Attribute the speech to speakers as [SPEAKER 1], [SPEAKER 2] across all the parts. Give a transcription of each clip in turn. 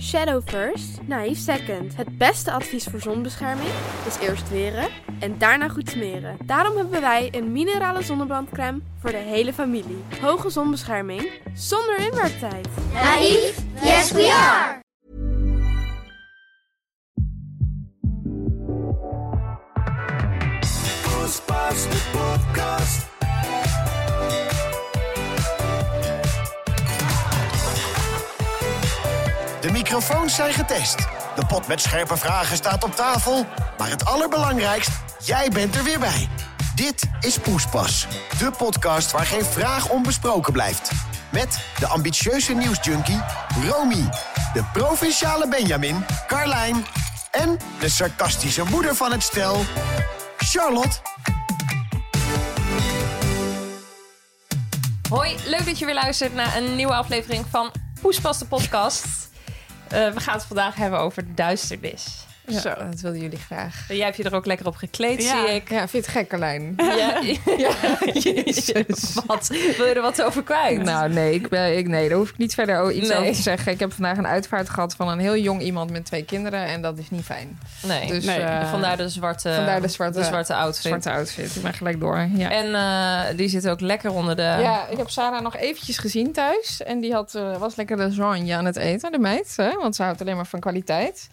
[SPEAKER 1] Shadow first, naïef second. Het beste advies voor zonbescherming is eerst weren en daarna goed smeren. Daarom hebben wij een minerale zonnebrandcrème voor de hele familie. Hoge zonbescherming zonder inwerktijd.
[SPEAKER 2] Naïef? Yes, we are!
[SPEAKER 3] Poespas de podcast. De microfoons zijn getest. De pot met scherpe vragen staat op tafel. Maar het allerbelangrijkst, jij bent er weer bij. Dit is Poespas, de podcast waar geen vraag onbesproken blijft. Met de ambitieuze nieuwsjunkie Romy, de provinciale Benjamin Carlijn en de sarcastische moeder van het stel Charlotte.
[SPEAKER 4] Hoi, leuk dat je weer luistert naar een nieuwe aflevering van Poespas de podcast. Eh, we gaan het vandaag hebben over duisternis.
[SPEAKER 5] Ja,
[SPEAKER 4] Zo.
[SPEAKER 5] dat wilden jullie graag.
[SPEAKER 4] Jij hebt je er ook lekker op gekleed,
[SPEAKER 5] Ja.
[SPEAKER 4] zie ik.
[SPEAKER 5] Ja, vind je het gek, Carlijn?
[SPEAKER 4] Ja. Wat? Wil je er wat over kwijt?
[SPEAKER 5] Nou, nee, ik ben, ik, nee, daar hoef ik niet verder o- iets
[SPEAKER 4] Nee.
[SPEAKER 5] over te zeggen. Ik heb vandaag een uitvaart gehad van een heel jong iemand met twee kinderen. En dat is niet fijn.
[SPEAKER 4] nee.
[SPEAKER 5] Dus
[SPEAKER 4] Nee.
[SPEAKER 5] eh,
[SPEAKER 4] vandaar de zwarte,
[SPEAKER 5] vandaar de zwarte-
[SPEAKER 4] outfit.
[SPEAKER 5] zwarte outfit. Ik ben gelijk door. Ja.
[SPEAKER 4] En eh, die zit ook lekker onder de...
[SPEAKER 5] ja, ik heb Sarah nog eventjes gezien thuis. En die had, eh, was lekker lasagne aan het eten, de meid. Hè? Want ze houdt alleen maar van kwaliteit.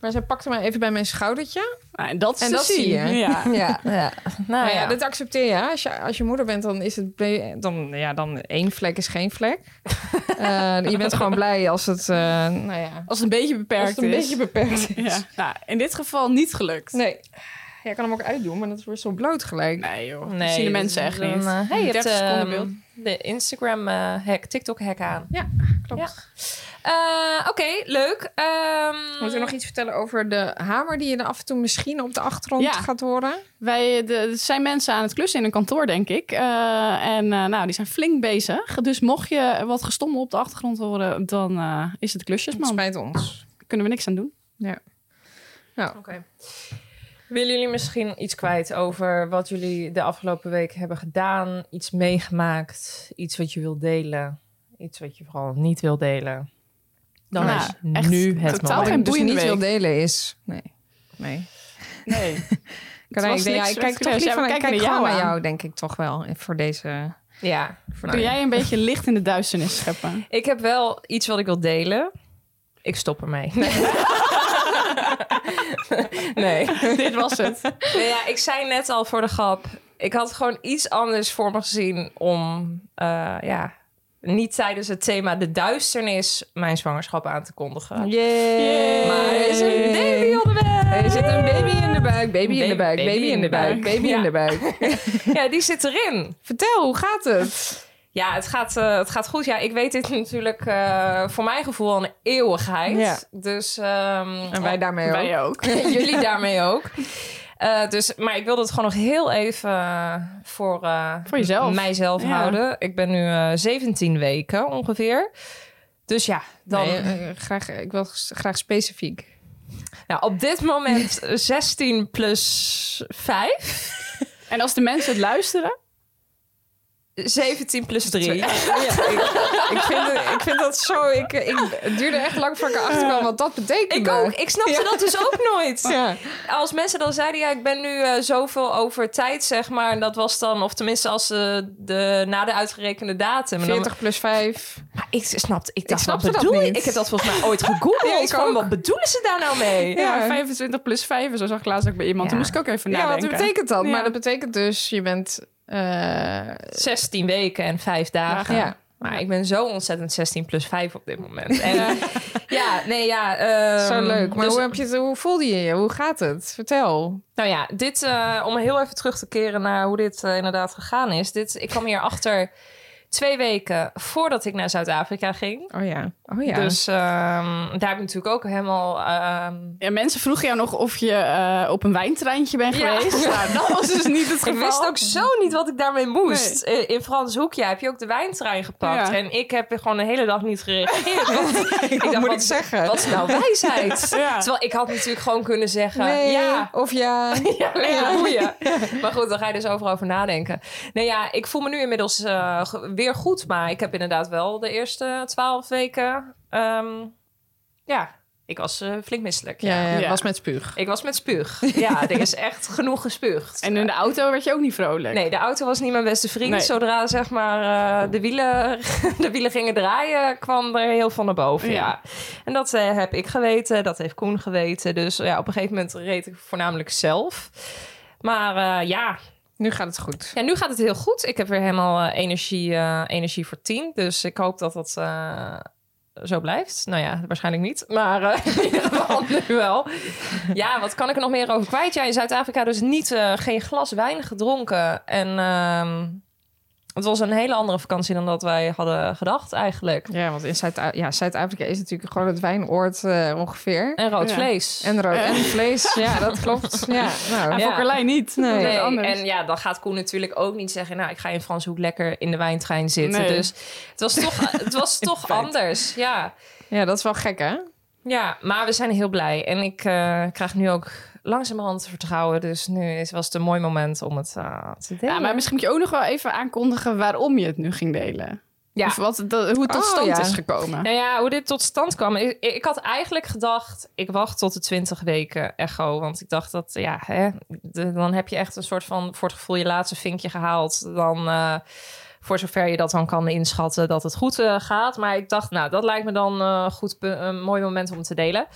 [SPEAKER 5] Maar zij pakte mij even bij mijn schoudertje.
[SPEAKER 6] Nou, en dat, is
[SPEAKER 5] En
[SPEAKER 6] te
[SPEAKER 5] dat
[SPEAKER 6] zien.
[SPEAKER 5] zie je.
[SPEAKER 6] Ja.
[SPEAKER 5] Ja.
[SPEAKER 4] Ja.
[SPEAKER 6] Ah,
[SPEAKER 4] Nou
[SPEAKER 5] Maar Oh ja,
[SPEAKER 4] ja.
[SPEAKER 5] dat accepteer je. hè. Als je, als je moeder bent, dan is het ble- dan, ja, dan één vlek is geen vlek. Eh, je bent gewoon blij als het, eh, nou ja,
[SPEAKER 6] Als het een beetje beperkt
[SPEAKER 5] als het een
[SPEAKER 6] is.
[SPEAKER 5] beetje beperkt is.
[SPEAKER 6] ja. Nou, in dit geval niet gelukt.
[SPEAKER 5] Nee, ja, ik kan hem ook uitdoen, maar dat wordt zo bloot gelijk.
[SPEAKER 6] Nee, joh.
[SPEAKER 4] Nee,
[SPEAKER 6] dat zien de mensen echt
[SPEAKER 4] dan,
[SPEAKER 6] niet.
[SPEAKER 4] eh, hey, je hebt
[SPEAKER 6] 30 seconden
[SPEAKER 4] ehm,
[SPEAKER 6] beeld.
[SPEAKER 4] de eh, Instagram-hack, TikTok-hack aan.
[SPEAKER 5] Ja, klopt.
[SPEAKER 4] Ja. Eh, Oké, leuk. Ehm,
[SPEAKER 5] Moet er nog iets vertellen over de hamer die je er af en toe misschien op de achtergrond
[SPEAKER 6] Ja.
[SPEAKER 5] gaat horen?
[SPEAKER 6] Wij, eh, de, er zijn mensen aan het klussen in een kantoor, denk ik. Eh, en eh, nou, die zijn flink bezig. Dus mocht je wat gestommel op de achtergrond horen, dan eh, is het
[SPEAKER 5] Het
[SPEAKER 6] klusjesman.
[SPEAKER 5] spijt ons.
[SPEAKER 6] Kunnen we niks aan doen.
[SPEAKER 4] Oké. Willen jullie misschien iets kwijt over wat jullie de afgelopen week hebben gedaan? Iets meegemaakt? Iets wat je wilt delen? Iets wat je vooral niet wilt delen? Dan
[SPEAKER 6] Nou,
[SPEAKER 4] is
[SPEAKER 6] echt
[SPEAKER 4] nu het
[SPEAKER 6] totaal
[SPEAKER 5] Wat
[SPEAKER 4] moment.
[SPEAKER 6] geen
[SPEAKER 5] ik dus
[SPEAKER 6] boeiende
[SPEAKER 5] niet wil
[SPEAKER 6] week.
[SPEAKER 5] delen is... Nee, nee.
[SPEAKER 6] Nee.
[SPEAKER 5] Kan
[SPEAKER 6] was
[SPEAKER 5] ik, denk- ja,
[SPEAKER 6] niks
[SPEAKER 5] ik kijk toch
[SPEAKER 6] spectaculair.
[SPEAKER 5] liever
[SPEAKER 6] Ja, we
[SPEAKER 5] ik
[SPEAKER 6] kijken
[SPEAKER 5] kijk
[SPEAKER 6] naar
[SPEAKER 5] gewoon
[SPEAKER 6] jou
[SPEAKER 5] naar
[SPEAKER 6] aan.
[SPEAKER 5] jou, denk ik toch wel. Voor deze...
[SPEAKER 4] Ja.
[SPEAKER 5] Voor
[SPEAKER 6] Kun jij een beetje licht in de duisternis scheppen?
[SPEAKER 4] Ik heb wel iets wat ik wil delen. Ik stop ermee. Nee. nee.
[SPEAKER 6] Dit was het.
[SPEAKER 4] Nou ja, ik zei net al voor de grap. Ik had gewoon iets anders voor me gezien om eh, ja, niet tijdens het thema de duisternis mijn zwangerschap aan te kondigen. Maar er is een baby onderweg.
[SPEAKER 5] Er zit een baby in de buik, baby in de buik, baby, in de buik, baby
[SPEAKER 4] Ja.
[SPEAKER 5] in de buik.
[SPEAKER 4] Ja, die zit erin.
[SPEAKER 5] Vertel, hoe gaat het?
[SPEAKER 4] Ja, het gaat, eh, het gaat goed. Ja, ik weet dit natuurlijk eh, voor mijn gevoel al een eeuwigheid.
[SPEAKER 5] Ja.
[SPEAKER 4] Dus, ehm,
[SPEAKER 5] En wij daarmee ook.
[SPEAKER 6] Wij ook.
[SPEAKER 4] jullie daarmee ook. Eh, dus, maar ik wilde het gewoon nog heel even eh, voor, eh,
[SPEAKER 6] Voor jezelf.
[SPEAKER 4] mijzelf
[SPEAKER 6] Ja.
[SPEAKER 4] houden. Ik ben nu eh 17 weken ongeveer. Dus ja, dan,
[SPEAKER 5] Nee, eh, graag, ik wil s- graag specifiek.
[SPEAKER 4] nou, op dit moment 16 plus 5.
[SPEAKER 6] En als de mensen het luisteren,
[SPEAKER 4] 17 plus 3.
[SPEAKER 5] ik, vind het- ik vind dat zo... Ik, eh, ik, het duurde echt lang voordat ik erachter kwam wat dat betekent.
[SPEAKER 4] Ik ook. Ik snapte dat dus ook nooit.
[SPEAKER 5] Ja.
[SPEAKER 4] Als mensen dan zeiden, ja, ik ben nu eh, zoveel over tijd, zeg maar. En dat was dan, of tenminste als eh, de, na de uitgerekende datum. En dan-
[SPEAKER 5] 40 plus 5.
[SPEAKER 4] Maar ik snapte, ik dacht,
[SPEAKER 5] snapte
[SPEAKER 4] wat
[SPEAKER 5] dat
[SPEAKER 4] bedoel je?
[SPEAKER 5] niet.
[SPEAKER 4] Ik heb dat volgens mij ooit gegoogeld.
[SPEAKER 5] Ja, ik
[SPEAKER 4] Van,
[SPEAKER 5] ook.
[SPEAKER 4] Wat bedoelen ze daar nou mee?
[SPEAKER 6] ja.
[SPEAKER 5] Ja.
[SPEAKER 6] 25 plus 5, zo zag ik laatst ook bij iemand.
[SPEAKER 4] Ja.
[SPEAKER 6] Toen moest ik ook even
[SPEAKER 5] Ja, wat
[SPEAKER 6] nadenken.
[SPEAKER 5] betekent dat?
[SPEAKER 6] Ja.
[SPEAKER 5] Maar dat betekent dus, je bent... eh,
[SPEAKER 4] 16 weken en 5 dagen.
[SPEAKER 5] ja.
[SPEAKER 4] Maar ik ben zo ontzettend 16 plus 5 op dit moment. En, ja. nee, ja. ehm,
[SPEAKER 5] Zo leuk. Maar
[SPEAKER 4] dus-
[SPEAKER 5] hoe, heb je het, hoe voelde je je? Hoe gaat het? Vertel.
[SPEAKER 4] Nou ja, dit, eh, om heel even terug te keren naar hoe dit eh, inderdaad gegaan is. Dit, ik kwam hier achter twee weken voordat ik naar Zuid-Afrika ging.
[SPEAKER 5] Oh ja. Oh ja.
[SPEAKER 4] Dus ehm, daar heb ik natuurlijk ook helemaal... ehm,
[SPEAKER 6] Ja, mensen vroegen jou nog of je eh, op een wijntreintje bent
[SPEAKER 4] Ja.
[SPEAKER 6] geweest. Nou, dat was dus niet het
[SPEAKER 4] Ik
[SPEAKER 6] geval.
[SPEAKER 4] wist ook zo niet wat ik daarmee moest. Eh, In Frans Hoekje heb je ook de wijntrein gepakt.
[SPEAKER 6] Ja.
[SPEAKER 4] En ik heb er gewoon de hele dag niet gereageerd. Want ik
[SPEAKER 5] Wat
[SPEAKER 4] dacht,
[SPEAKER 5] moet
[SPEAKER 4] wat,
[SPEAKER 5] ik zeggen?
[SPEAKER 4] wat is nou wijsheid?
[SPEAKER 6] Ja.
[SPEAKER 4] Terwijl ik had natuurlijk gewoon kunnen zeggen...
[SPEAKER 5] Nee,
[SPEAKER 4] Ja,
[SPEAKER 5] of ja.
[SPEAKER 4] ja, nee, boeien. Maar goed, dan ga je dus overal over nadenken. Nee, ja, ik voel me nu inmiddels eh, ge- weer goed. Maar ik heb inderdaad wel de eerste twaalf weken... ehm, Ja, ik was eh, flink misselijk.
[SPEAKER 5] Ja, ja,
[SPEAKER 6] Ja.
[SPEAKER 5] was met spuug.
[SPEAKER 4] Ik was met spuug. Ja, er is echt genoeg gespuugd.
[SPEAKER 6] En in de auto werd je ook niet vrolijk.
[SPEAKER 4] Nee, de auto was niet mijn beste vriend.
[SPEAKER 6] Nee.
[SPEAKER 4] Zodra zeg maar, eh, de, wielen, de wielen gingen draaien, kwam er heel veel naar boven. Ja.
[SPEAKER 6] Ja.
[SPEAKER 4] En dat eh, heb ik geweten, dat heeft Koen geweten. Dus ja, op een gegeven moment reed ik voornamelijk zelf. Maar eh, ja.
[SPEAKER 5] Nu gaat het goed.
[SPEAKER 4] ja, nu gaat het heel goed. Ik heb weer helemaal eh, energie, eh, energie voor tien. Dus ik hoop dat dat eh, zo blijft. Nou ja, waarschijnlijk niet. Maar eh, in ieder geval nu wel. Ja, wat kan ik er nog meer over kwijt? Ja, in Zuid-Afrika dus niet, eh, geen glas wijn gedronken. En ehm, het was een hele andere vakantie dan dat wij hadden gedacht eigenlijk.
[SPEAKER 5] Ja, want in Zuid- ja, Zuid-Afrika is natuurlijk gewoon het wijnoord eh, ongeveer.
[SPEAKER 4] En rood
[SPEAKER 6] Ja.
[SPEAKER 4] vlees.
[SPEAKER 5] En rood en vlees. Ja, dat klopt. Ja, nou.
[SPEAKER 6] En
[SPEAKER 4] Ja.
[SPEAKER 6] voor Carlijn niet.
[SPEAKER 5] Nee.
[SPEAKER 6] Nee.
[SPEAKER 4] Nee,
[SPEAKER 6] anders.
[SPEAKER 4] en ja, dan gaat Koen natuurlijk ook niet zeggen... nou, ik ga in Franshoek lekker in de wijntrein zitten.
[SPEAKER 6] Nee.
[SPEAKER 4] Dus het was toch, het was toch anders, ja.
[SPEAKER 5] ja, dat is wel gek, hè?
[SPEAKER 4] Ja, maar we zijn heel blij. En ik eh, krijg nu ook langzamerhand vertrouwen. Dus nu is, was het een mooi moment om het eh, te delen.
[SPEAKER 6] Ja, maar misschien moet je ook nog wel even aankondigen waarom je het nu ging delen.
[SPEAKER 4] Ja.
[SPEAKER 6] Of wat, dat- hoe het tot
[SPEAKER 5] Oh,
[SPEAKER 6] stand
[SPEAKER 5] ja.
[SPEAKER 6] is gekomen.
[SPEAKER 4] Nou ja, hoe dit tot stand kwam. Ik, ik had eigenlijk gedacht, ik wacht tot de 20 weken echo. Want ik dacht dat, ja, hè, de- dan heb je echt een soort van, voor het gevoel, je laatste vinkje gehaald. Dan, eh, voor zover je dat dan kan inschatten, dat het goed eh, gaat. Maar ik dacht, nou, dat lijkt me dan eh, goed, pu- een mooi moment om te delen.